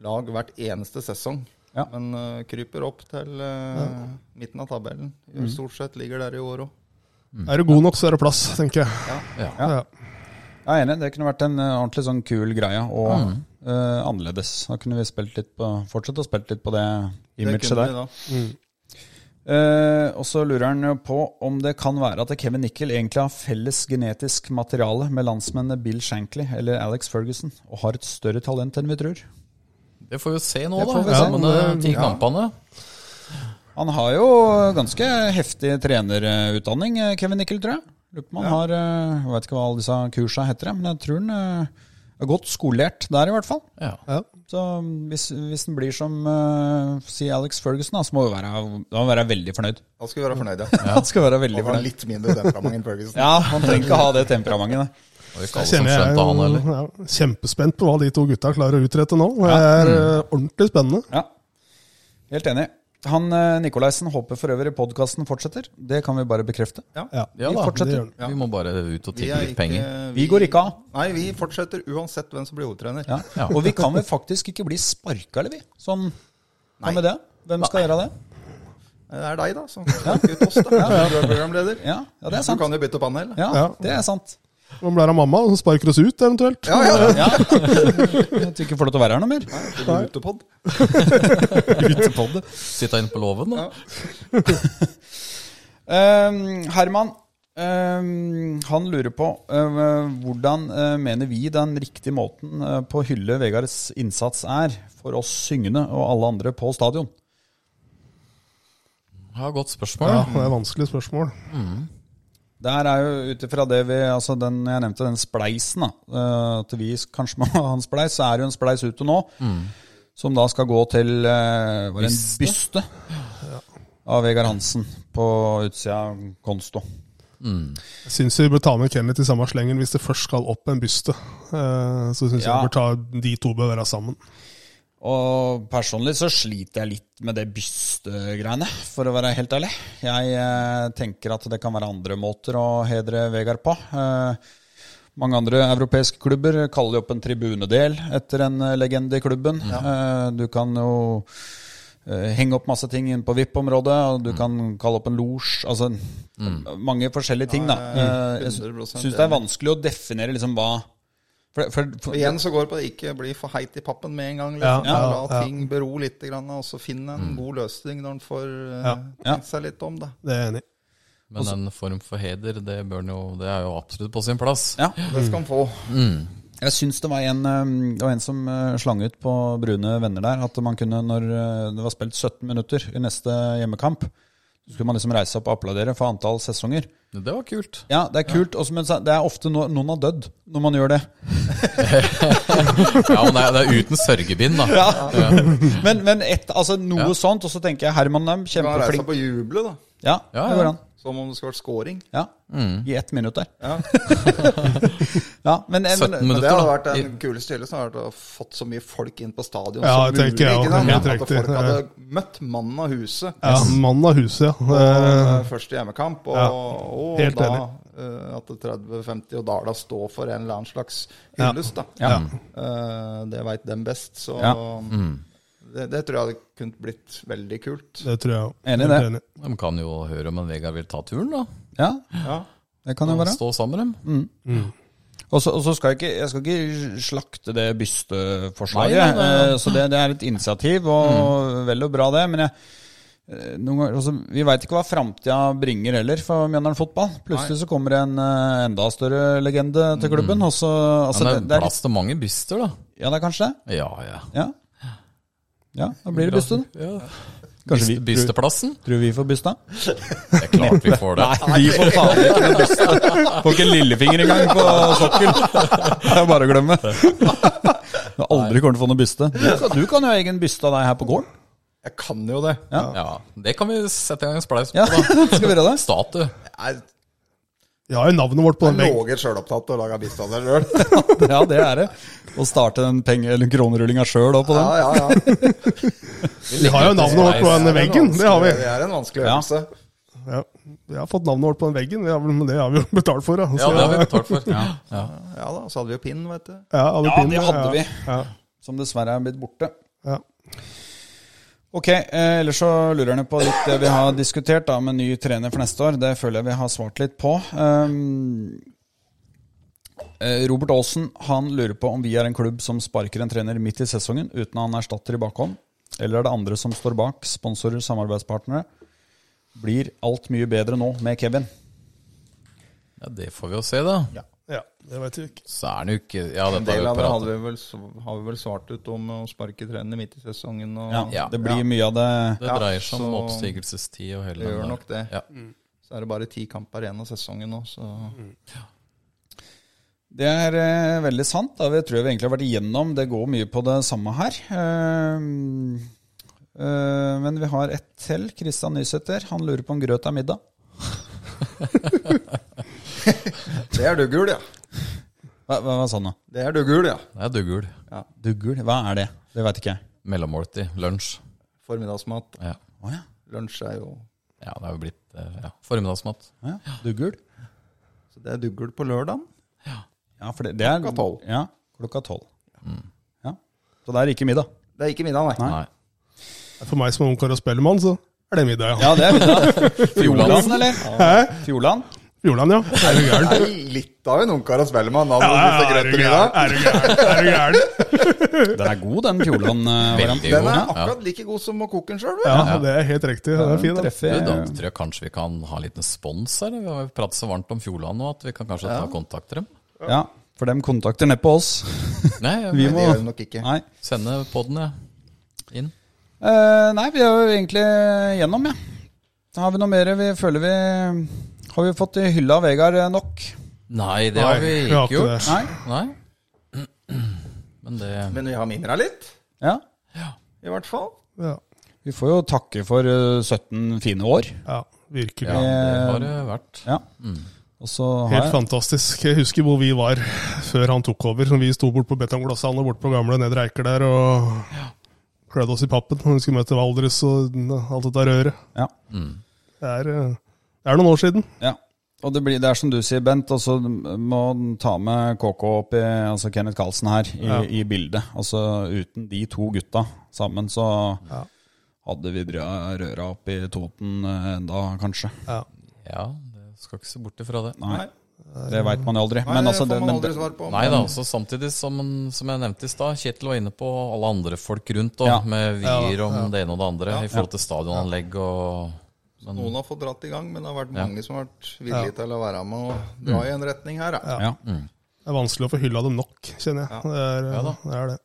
Speaker 5: lag hvert eneste sesong.
Speaker 2: Ja.
Speaker 5: Men eh, kryper opp til eh, midten av tabellen.
Speaker 2: Mm.
Speaker 5: Stort sett ligger der i år òg.
Speaker 4: Er du god nok, så er det plass, tenker jeg.
Speaker 3: Ja.
Speaker 4: Ja.
Speaker 2: Jeg er enig. Det kunne vært en eh, ordentlig sånn kul greie, og eh, annerledes. Da kunne vi spilt litt på, fortsatt å spille litt på det imaget der. Eh, og så lurer han jo på om det kan være at Kevin Nickel egentlig har felles genetisk materiale med landsmennene Bill Shankly eller Alex Ferguson, og har et større talent enn vi tror.
Speaker 3: Det får vi se nå,
Speaker 2: Det
Speaker 3: da.
Speaker 2: får vi
Speaker 3: Ja,
Speaker 2: se.
Speaker 3: men eh, ti kampene.
Speaker 2: Han har jo ganske heftig trenerutdanning, eh, Kevin Nickel, tror jeg. Lurer på om han har eh, Jeg vet ikke hva alle disse kursa heter, men jeg tror han eh, er godt skolert der, i hvert fall.
Speaker 3: Ja.
Speaker 4: Ja.
Speaker 2: Så mm, hvis, hvis han blir som eh, si Alex Ferguson, da, så må han være, da må han være veldig fornøyd.
Speaker 5: Da skal vi være fornøyde.
Speaker 2: Han skal være veldig
Speaker 5: Og ha
Speaker 2: fornøyd.
Speaker 5: litt mindre temperament enn Ferguson.
Speaker 2: Ja, han trenger ikke ha det temperamentet. nei.
Speaker 3: Det var ikke alle som
Speaker 4: Kjenner jeg
Speaker 3: skjønte han heller.
Speaker 4: er ja, kjempespent på hva de to gutta klarer å utrette nå. Det er eh, ordentlig spennende.
Speaker 2: Ja, helt enig. Han eh, Nikolaisen håper for øvrig podkasten fortsetter. Det kan vi bare bekrefte.
Speaker 4: Ja,
Speaker 3: Ja
Speaker 2: Vi
Speaker 3: da,
Speaker 2: fortsetter.
Speaker 4: det gjør den.
Speaker 3: Vi må bare ut og
Speaker 5: Vi
Speaker 3: tigge
Speaker 5: er
Speaker 3: litt penger.
Speaker 5: ikke-
Speaker 2: Vi går ikke av.
Speaker 5: Nei, vi fortsetter uansett hvem som blir hovedtrener.
Speaker 2: Ja.
Speaker 3: Ja.
Speaker 2: Og vi kan vel faktisk ikke bli sparka, eller vi? Sånn, hva
Speaker 5: Nei.
Speaker 2: med det? Hvem skal gjøre det?
Speaker 5: Det er deg, da, som snakker ut oss, da. Du er programleder.
Speaker 2: Ja, ja det er
Speaker 5: Du
Speaker 2: sant.
Speaker 5: kan jo bytte panel.
Speaker 2: Ja,
Speaker 4: Ja.
Speaker 2: det er sant.
Speaker 4: Om det er av mamma, så sparker oss ut eventuelt.
Speaker 5: Ja, ja.
Speaker 2: Ja. At vi ikke får lov til å være her noe mer.
Speaker 5: Lutepod.
Speaker 3: Sitte inne på låven, da.
Speaker 2: Ehm, Herman, ehm, han lurer på eh, hvordan eh, mener vi den riktige måten eh, på å hylle Vegards innsats er for oss syngende og alle andre på stadion?
Speaker 3: Ja, godt
Speaker 4: Ja,
Speaker 3: spørsmål.
Speaker 4: Det er vanskelige spørsmål.
Speaker 2: Der er jo ut ifra det vi altså den, Jeg nevnte den spleisen. da, eh, At vi kanskje må ha en spleis. Så er det jo en spleis ute nå. Som da skal gå til eh, var det en byste av Vegard Hansen på utsida av Konsto.
Speaker 4: Jeg syns vi bør ta med Kenneth i samme slengen hvis det først skal opp en byste. Eh, Så syns jeg
Speaker 2: Ja.
Speaker 4: vi bør ta de to bør være sammen.
Speaker 2: Og personlig så sliter jeg litt med det bystegreiene, for å være helt ærlig. Jeg eh, tenker at det kan være andre måter å hedre Vegard på. Eh, mange andre europeiske klubber kaller jo opp en tribunedel etter en eh, legende i klubben. Eh, du kan jo eh, henge opp masse ting inn på VIP-området, og du kan kalle opp en losj. Altså mange forskjellige ting, da. Eh, jeg sy-
Speaker 5: 100%
Speaker 2: syns det er vanskelig å definere liksom hva for, for,
Speaker 5: Og
Speaker 2: for,
Speaker 5: Igjen så går det på å ikke bli for heit i pappen med en gang.
Speaker 4: Ja,
Speaker 5: Liksom.
Speaker 4: ja,
Speaker 5: La
Speaker 4: ja.
Speaker 5: ting bero litt, grann, og så finne en god løsning når en får eh,
Speaker 2: Ja.
Speaker 5: tenkt seg litt om det.
Speaker 4: Det er jeg enig i.
Speaker 3: Men en form for heder, det, bør den jo, det er jo absolutt på sin plass.
Speaker 2: ja.
Speaker 5: Det skal en få.
Speaker 2: Jeg syns det var en, eh, det var en som eh, slang ut på Brune venner der, at man kunne, når eh, det var spilt 17 minutter i neste hjemmekamp, så skulle man liksom reise opp og applaudere for antall sesonger.
Speaker 3: Det var kult.
Speaker 2: Ja, det er kult, også, men så- det er ofte no, noen har dødd når man gjør det.
Speaker 3: Ja, men det er, det er uten sørgebind, da.
Speaker 2: Men, men et, altså noe
Speaker 3: Ja.
Speaker 2: sånt, og så tenker jeg Herman er
Speaker 5: Du kan reise
Speaker 2: kjempeflink.
Speaker 5: opp og juble, da.
Speaker 2: Ja,
Speaker 3: Ja,
Speaker 2: det
Speaker 3: ja.
Speaker 2: går an.
Speaker 5: Som om det skulle vært scoring.
Speaker 2: Ja. I ett minutt der.
Speaker 5: Ja.
Speaker 2: Ja, men, men,
Speaker 3: 17
Speaker 5: Men
Speaker 3: minutter,
Speaker 5: det
Speaker 3: da.
Speaker 5: hadde vært den kuleste hyllelsen hadde vært å fått så mye folk inn på stadion
Speaker 4: Ja,
Speaker 5: som
Speaker 4: det
Speaker 5: mulig.
Speaker 4: tenker jeg også.
Speaker 5: ikke sant? At
Speaker 4: Helt riktig.
Speaker 5: folk hadde møtt mannen av huset.
Speaker 4: Ja, Mann av huset, ja.
Speaker 5: på
Speaker 4: Eh,
Speaker 5: eh, første hjemmekamp. Og,
Speaker 4: Ja,
Speaker 5: og
Speaker 4: helt
Speaker 5: da
Speaker 4: enig.
Speaker 5: eh, at det 30-50 og Dala står for en eller annen slags hyllest, da.
Speaker 2: Ja.
Speaker 5: Eh, det veit dem best, så mm.
Speaker 2: Ja.
Speaker 5: det, det tror jeg hadde kunnet blitt veldig kult.
Speaker 4: Det tror jeg òg.
Speaker 2: Enig i det.
Speaker 3: De kan jo høre om en Vegard vil ta turen, da.
Speaker 2: ja,
Speaker 5: Ja.
Speaker 2: det kan jo være.
Speaker 3: Stå sammen med dem.
Speaker 2: Og så, og så skal jeg ikke, jeg skal ikke slakte det bysteforslaget.
Speaker 3: Nei, nei, nei, Mm. nei.
Speaker 2: eh, Så det, det er et initiativ, og vel og bra det. Men jeg, eh, noen ganger, altså, vi veit ikke hva framtida bringer heller for Mjøndalen fotball. Plutselig så kommer det en eh, enda større legende til klubben. Og så, altså,
Speaker 3: Mm.
Speaker 2: det,
Speaker 3: Men det er
Speaker 2: det er litt,
Speaker 3: plass til mange byster, da.
Speaker 2: ja, det er kanskje det.
Speaker 3: Ja, ja.
Speaker 2: Ja, ja da blir det byste. da.
Speaker 3: Ja.
Speaker 2: Kanskje
Speaker 3: Byste,
Speaker 2: vi tror,
Speaker 3: bysteplassen?
Speaker 2: tror vi får bysta?
Speaker 3: Det er klart vi får det.
Speaker 2: Nei, vi får faen ikke noe byste. Får ikke en lillefinger engang på sokkel. Det er bare å glemme. Du aldri kommer til å få noe byste. Du kan, du kan jo ha egen byste av deg her på gården.
Speaker 5: Jeg kan jo det.
Speaker 3: Ja, Det kan vi sette i gang en spleis på,
Speaker 2: Ja,
Speaker 3: da.
Speaker 2: skal vi gjøre det?
Speaker 3: Statue.
Speaker 5: Jeg
Speaker 4: Vi har jo navnet vårt på
Speaker 5: er
Speaker 4: den veggen.
Speaker 5: noe sjølopptatt og lager bistand av seg sjøl.
Speaker 2: Ja, det er det. Å starte den penge- eller kronerullinga sjøl òg på
Speaker 5: Ja,
Speaker 2: den.
Speaker 5: ja, ja.
Speaker 4: Vi har jo navnet vårt på den veggen, det har vi.
Speaker 5: Det er en vanskelig
Speaker 2: Ja.
Speaker 5: øvelse.
Speaker 4: Ja. Vi har fått navnet vårt på den veggen, vi har, vel- men det har vi jo betalt for. Da.
Speaker 3: Ja,
Speaker 4: Så-
Speaker 3: det har vi betalt for. Ja.
Speaker 5: Ja da, så hadde vi jo pinn, vet du.
Speaker 4: ja, alle
Speaker 2: Ja,
Speaker 4: pinene,
Speaker 2: det hadde
Speaker 4: ja.
Speaker 2: vi.
Speaker 4: Ja,
Speaker 2: Som dessverre er blitt borte.
Speaker 4: ja.
Speaker 2: Ok, eh, ellers så lurer han jo på litt det vi har diskutert da med ny trener for neste år. Det føler jeg vi har svart litt på. Um, eh, Robert Aasen han lurer på om vi er en klubb som sparker en trener midt i sesongen uten at han erstatter i bakhånd. Eller er det andre som står bak, sponsorer, samarbeidspartnere? Blir alt mye bedre nå med Kevin?
Speaker 3: Ja, Det får vi jo se, da.
Speaker 4: ja, det vet vi ikke.
Speaker 3: Så er den jo ikke Ja,
Speaker 5: En
Speaker 3: dette har
Speaker 5: del
Speaker 3: vi
Speaker 5: av det hadde
Speaker 3: pratet
Speaker 5: vi vel, s- har vi vel svart ut om å sparke trenene midt i sesongen. Og
Speaker 3: Ja.
Speaker 2: Det blir mye av det
Speaker 3: Det
Speaker 5: Ja,
Speaker 3: dreier seg om
Speaker 5: så-
Speaker 3: oppsigelsestid og hele
Speaker 5: Det gjør
Speaker 3: der.
Speaker 5: nok det.
Speaker 3: Ja.
Speaker 5: så er det bare ti kamper igjen av sesongen nå, så
Speaker 3: Mm.
Speaker 2: Det er eh, veldig sant. Da. Jeg tror vi egentlig har vært igjennom. Det går mye på det samme her. Ehm, eh, men vi har ett til. Kristian Nysæter. Han lurer på om grøt er middag.
Speaker 5: Det er duggul, ja.
Speaker 2: Hva, hva, hva sa han nå?
Speaker 5: Det er duggul, ja.
Speaker 3: Det er duggul.
Speaker 2: Duggul? Hva er det? Det veit ikke jeg.
Speaker 3: Mellommåltid. Lunsj.
Speaker 5: Formiddagsmat.
Speaker 3: Ja.
Speaker 2: Å ja.
Speaker 5: Lunsj er jo
Speaker 3: ja, det er jo blitt eh, ja. formiddagsmat.
Speaker 2: Å ja. Duggul?
Speaker 5: Så det er duggul på lørdag.
Speaker 2: Ja, for det, det er
Speaker 5: Klokka tolv.
Speaker 2: Ja, klokka tolv. Mm. Ja. Så det er ikke middag.
Speaker 5: Det er ikke middag, nei.
Speaker 3: Nei.
Speaker 4: For meg som er ungkar og spellemann, så er det middag, ja.
Speaker 2: Ja, det er middag. Fjordland, eller? Fjordland?
Speaker 4: Fjordland, ja. Er du gæren?
Speaker 5: Nei, litt av en ungkar og spellemann. Han
Speaker 4: Ja,
Speaker 5: må spise
Speaker 4: er
Speaker 5: grøt
Speaker 4: du
Speaker 5: til
Speaker 4: gæren?
Speaker 5: middag.
Speaker 4: Er du gæren? Er du gæren?
Speaker 2: Den er god, den eh, Fjordland-varianten.
Speaker 3: Veldig
Speaker 5: Den
Speaker 3: god.
Speaker 5: er
Speaker 3: Ja.
Speaker 5: akkurat like god som å koke den sjøl, vel?
Speaker 4: Ja, det er helt riktig. Det er fint, da.
Speaker 3: Du, da
Speaker 2: Treffer.
Speaker 3: tror jeg kanskje vi kan ha en liten spons her. Vi har jo pratet så varmt om Fjordland nå at vi kan kanskje ta kontakt til dem.
Speaker 2: Ja, for dem kontakter neppe oss.
Speaker 3: Nei,
Speaker 2: Vi
Speaker 3: jeg
Speaker 5: Det
Speaker 2: må
Speaker 5: gjør den nok ikke.
Speaker 2: Nei.
Speaker 3: sende poden ja. inn.
Speaker 2: Eh, nei, vi er jo egentlig gjennom, ja. Da har vi noe mer vi føler vi Har vi fått hylla Vegard eh, nok?
Speaker 3: Nei, det har vi
Speaker 4: Nei, vi
Speaker 3: ikke
Speaker 4: har ikke
Speaker 3: gjort.
Speaker 2: Nei?
Speaker 3: Nei. Men det
Speaker 5: Men vi har mimra litt,
Speaker 2: Ja.
Speaker 5: i hvert fall.
Speaker 4: Ja,
Speaker 2: Vi får jo takke for eh, 17 fine år.
Speaker 4: ja virkelig.
Speaker 3: Ja, det har det vært.
Speaker 2: Ja. Og så har jeg
Speaker 4: Helt fantastisk. Jeg husker hvor vi var før han tok over. Vi sto bort på betongglassene og bort på gamle Nedre Eiker der og klødde oss i pappen når vi skulle møte Valdres og alt dette røret.
Speaker 2: ja.
Speaker 4: Det er, eh, det er noen år siden.
Speaker 2: ja. Og det, blir, det er som du sier, Bent, og så må den ta med KK opp i Altså Kenneth Carlsen her i, i bildet. Altså uten de to gutta sammen, så hadde vi drø- røra opp i Toten eh, enda, kanskje.
Speaker 3: Ja, det skal ikke se bort ifra det.
Speaker 2: Nei. Det veit man jo aldri.
Speaker 5: Nei,
Speaker 2: Men altså,
Speaker 5: det
Speaker 2: det,
Speaker 5: får man
Speaker 2: men
Speaker 5: aldri svar på.
Speaker 3: Nei da, også samtidig som, som jeg nevnte i stad, Kjetil var inne på alle andre folk rundt, da,
Speaker 2: Ja.
Speaker 3: med vier om det ene og det andre i forhold til stadionanlegg og men,
Speaker 5: Noen har fått dratt i gang, men det har vært mange som har vært villige til å være med
Speaker 4: Mm.
Speaker 5: og dra i en retning her. Ja.
Speaker 2: ja.
Speaker 4: Det er vanskelig å få hylla dem nok, kjenner jeg. Det er, eh,
Speaker 3: da.
Speaker 4: det, er det.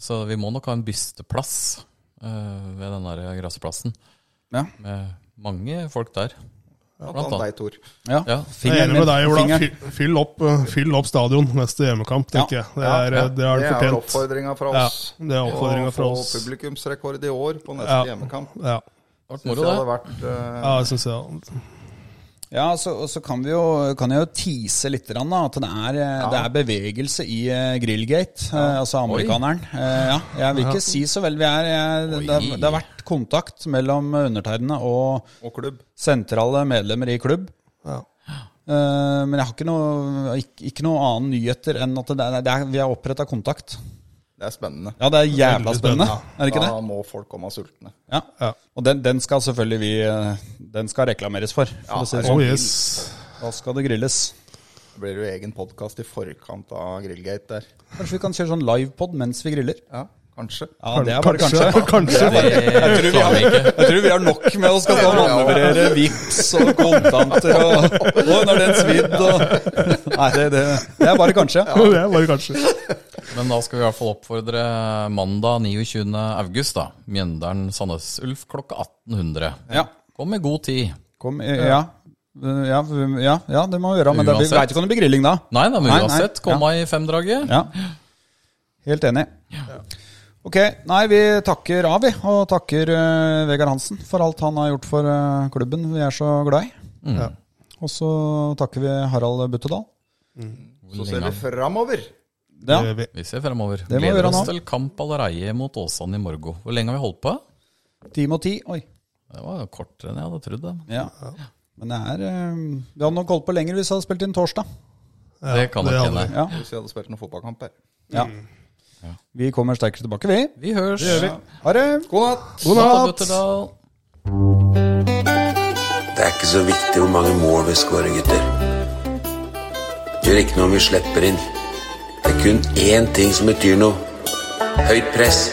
Speaker 3: Så vi må nok ha en bysteplass eh, ved den der gressplassen,
Speaker 2: Ja.
Speaker 3: med mange folk der.
Speaker 5: Blant annet deg, Tor.
Speaker 2: ja.
Speaker 3: Ja.
Speaker 4: Jeg er
Speaker 2: Fingeren
Speaker 4: enig med deg,
Speaker 2: min.
Speaker 4: Ola.
Speaker 2: Fingeren.
Speaker 4: Fyll, fyll, opp, eh, fyll opp stadion neste hjemmekamp, tenker
Speaker 2: Ja.
Speaker 4: jeg. Det er, eh, det er
Speaker 5: Det er vel
Speaker 4: fortjent.
Speaker 5: oppfordringa fra
Speaker 4: Ja,
Speaker 5: oss.
Speaker 4: det er oppfordringen fra
Speaker 5: Å
Speaker 4: oss.
Speaker 5: få publikumsrekord i år på neste
Speaker 4: Ja.
Speaker 5: hjemmekamp.
Speaker 4: Ja,
Speaker 3: Det ble
Speaker 5: Synes
Speaker 3: moro,
Speaker 5: jeg
Speaker 3: det.
Speaker 5: hadde vært eh,
Speaker 4: ja jeg syns jeg.
Speaker 2: Ja, så, og så kan, vi jo, kan jeg jo tease litt grann, da, at det er, eh, det er bevegelse i eh, Grillgate, eh, altså amerikaneren. Eh, ja, jeg vil ikke si så vel vi er. Jeg, det, det har- det har vært kontakt mellom undertegnede og
Speaker 5: og klubb.
Speaker 2: sentrale medlemmer i klubb.
Speaker 4: Ja.
Speaker 2: Eh, men jeg har ikke noe, ikke, ikke noe annen nyheter enn at det er, det er, vi har oppretta kontakt.
Speaker 5: Det er spennende.
Speaker 2: Ja, det er jævla
Speaker 4: Veldig
Speaker 2: spennende.
Speaker 4: spennende.
Speaker 2: Er det ikke det?
Speaker 5: Da må folk komme sultne.
Speaker 2: Ja.
Speaker 4: Ja.
Speaker 2: Og den, den skal selvfølgelig vi eh, Den skal reklameres for. for å si det
Speaker 4: Oh
Speaker 2: sånn.
Speaker 4: yes.
Speaker 2: Da skal det grilles.
Speaker 5: Det blir jo egen podkast i forkant av Grillgate der.
Speaker 2: Kanskje vi kan kjøre sånn livepod mens vi griller?
Speaker 5: Ja, kanskje.
Speaker 2: Ja, det er bare kanskje.
Speaker 4: Kanskje. kanskje.
Speaker 3: Det klarer vi ikke.
Speaker 2: Jeg tror vi har nok med å skal
Speaker 5: Ja, ja, ja.
Speaker 2: manøvrere vips og kontanter og Å, når den svidd og Nei, det, det, det er bare kanskje.
Speaker 4: Det er bare kanskje.
Speaker 3: Men da skal vi i hvert fall oppfordre mandag 29. august, da. Mjøndalen-Sandnes-Ulf klokka 1800.
Speaker 2: Ja.
Speaker 3: Kom i god tid.
Speaker 2: Kom, eh, ja. Ja, ja, ja, det må vi gjøre. Men det, vi
Speaker 3: Uansett.
Speaker 2: veit ikke om det blir grilling da.
Speaker 3: Nei da, men
Speaker 2: Nei, nei.
Speaker 3: uansett, kom av i femdraget.
Speaker 2: Ja. Helt enig. Ok, nei, vi takker av, vi. Og takker eh, Vegard Hansen for alt han har gjort for eh, klubben vi er så glad i.
Speaker 4: Ja.
Speaker 2: Og så takker vi Harald Buttedal.
Speaker 5: Så ser vi framover.
Speaker 2: Ja.
Speaker 4: Det gjør vi.
Speaker 3: Vi ser fremover.
Speaker 2: må vi
Speaker 3: Gleder
Speaker 2: gjøre
Speaker 3: oss
Speaker 2: nå.
Speaker 3: til kamp allereie mot Åsane i morgen. Hvor lenge har vi holdt på?
Speaker 2: Ti mot ti. Oi.
Speaker 3: Det var kortere enn jeg hadde trodd. Det,
Speaker 2: Ja. Men det er eh, Vi hadde nok holdt på lenger hvis vi hadde spilt inn torsdag.
Speaker 3: det kan nok
Speaker 4: hadde
Speaker 3: hende.
Speaker 2: Ja.
Speaker 5: Hvis vi hadde spilt noen fotballkamper.
Speaker 2: ja. Vi kommer sterkere tilbake, vi.
Speaker 3: Vi hørs.
Speaker 2: Ha det! God natt! God
Speaker 3: Ha det, Butterdal.
Speaker 1: Det er ikke så viktig hvor mange mål vi scorer, gutter. Det Gjør ikke noe om vi slipper inn. Det er kun én ting som betyr noe. Høyt press.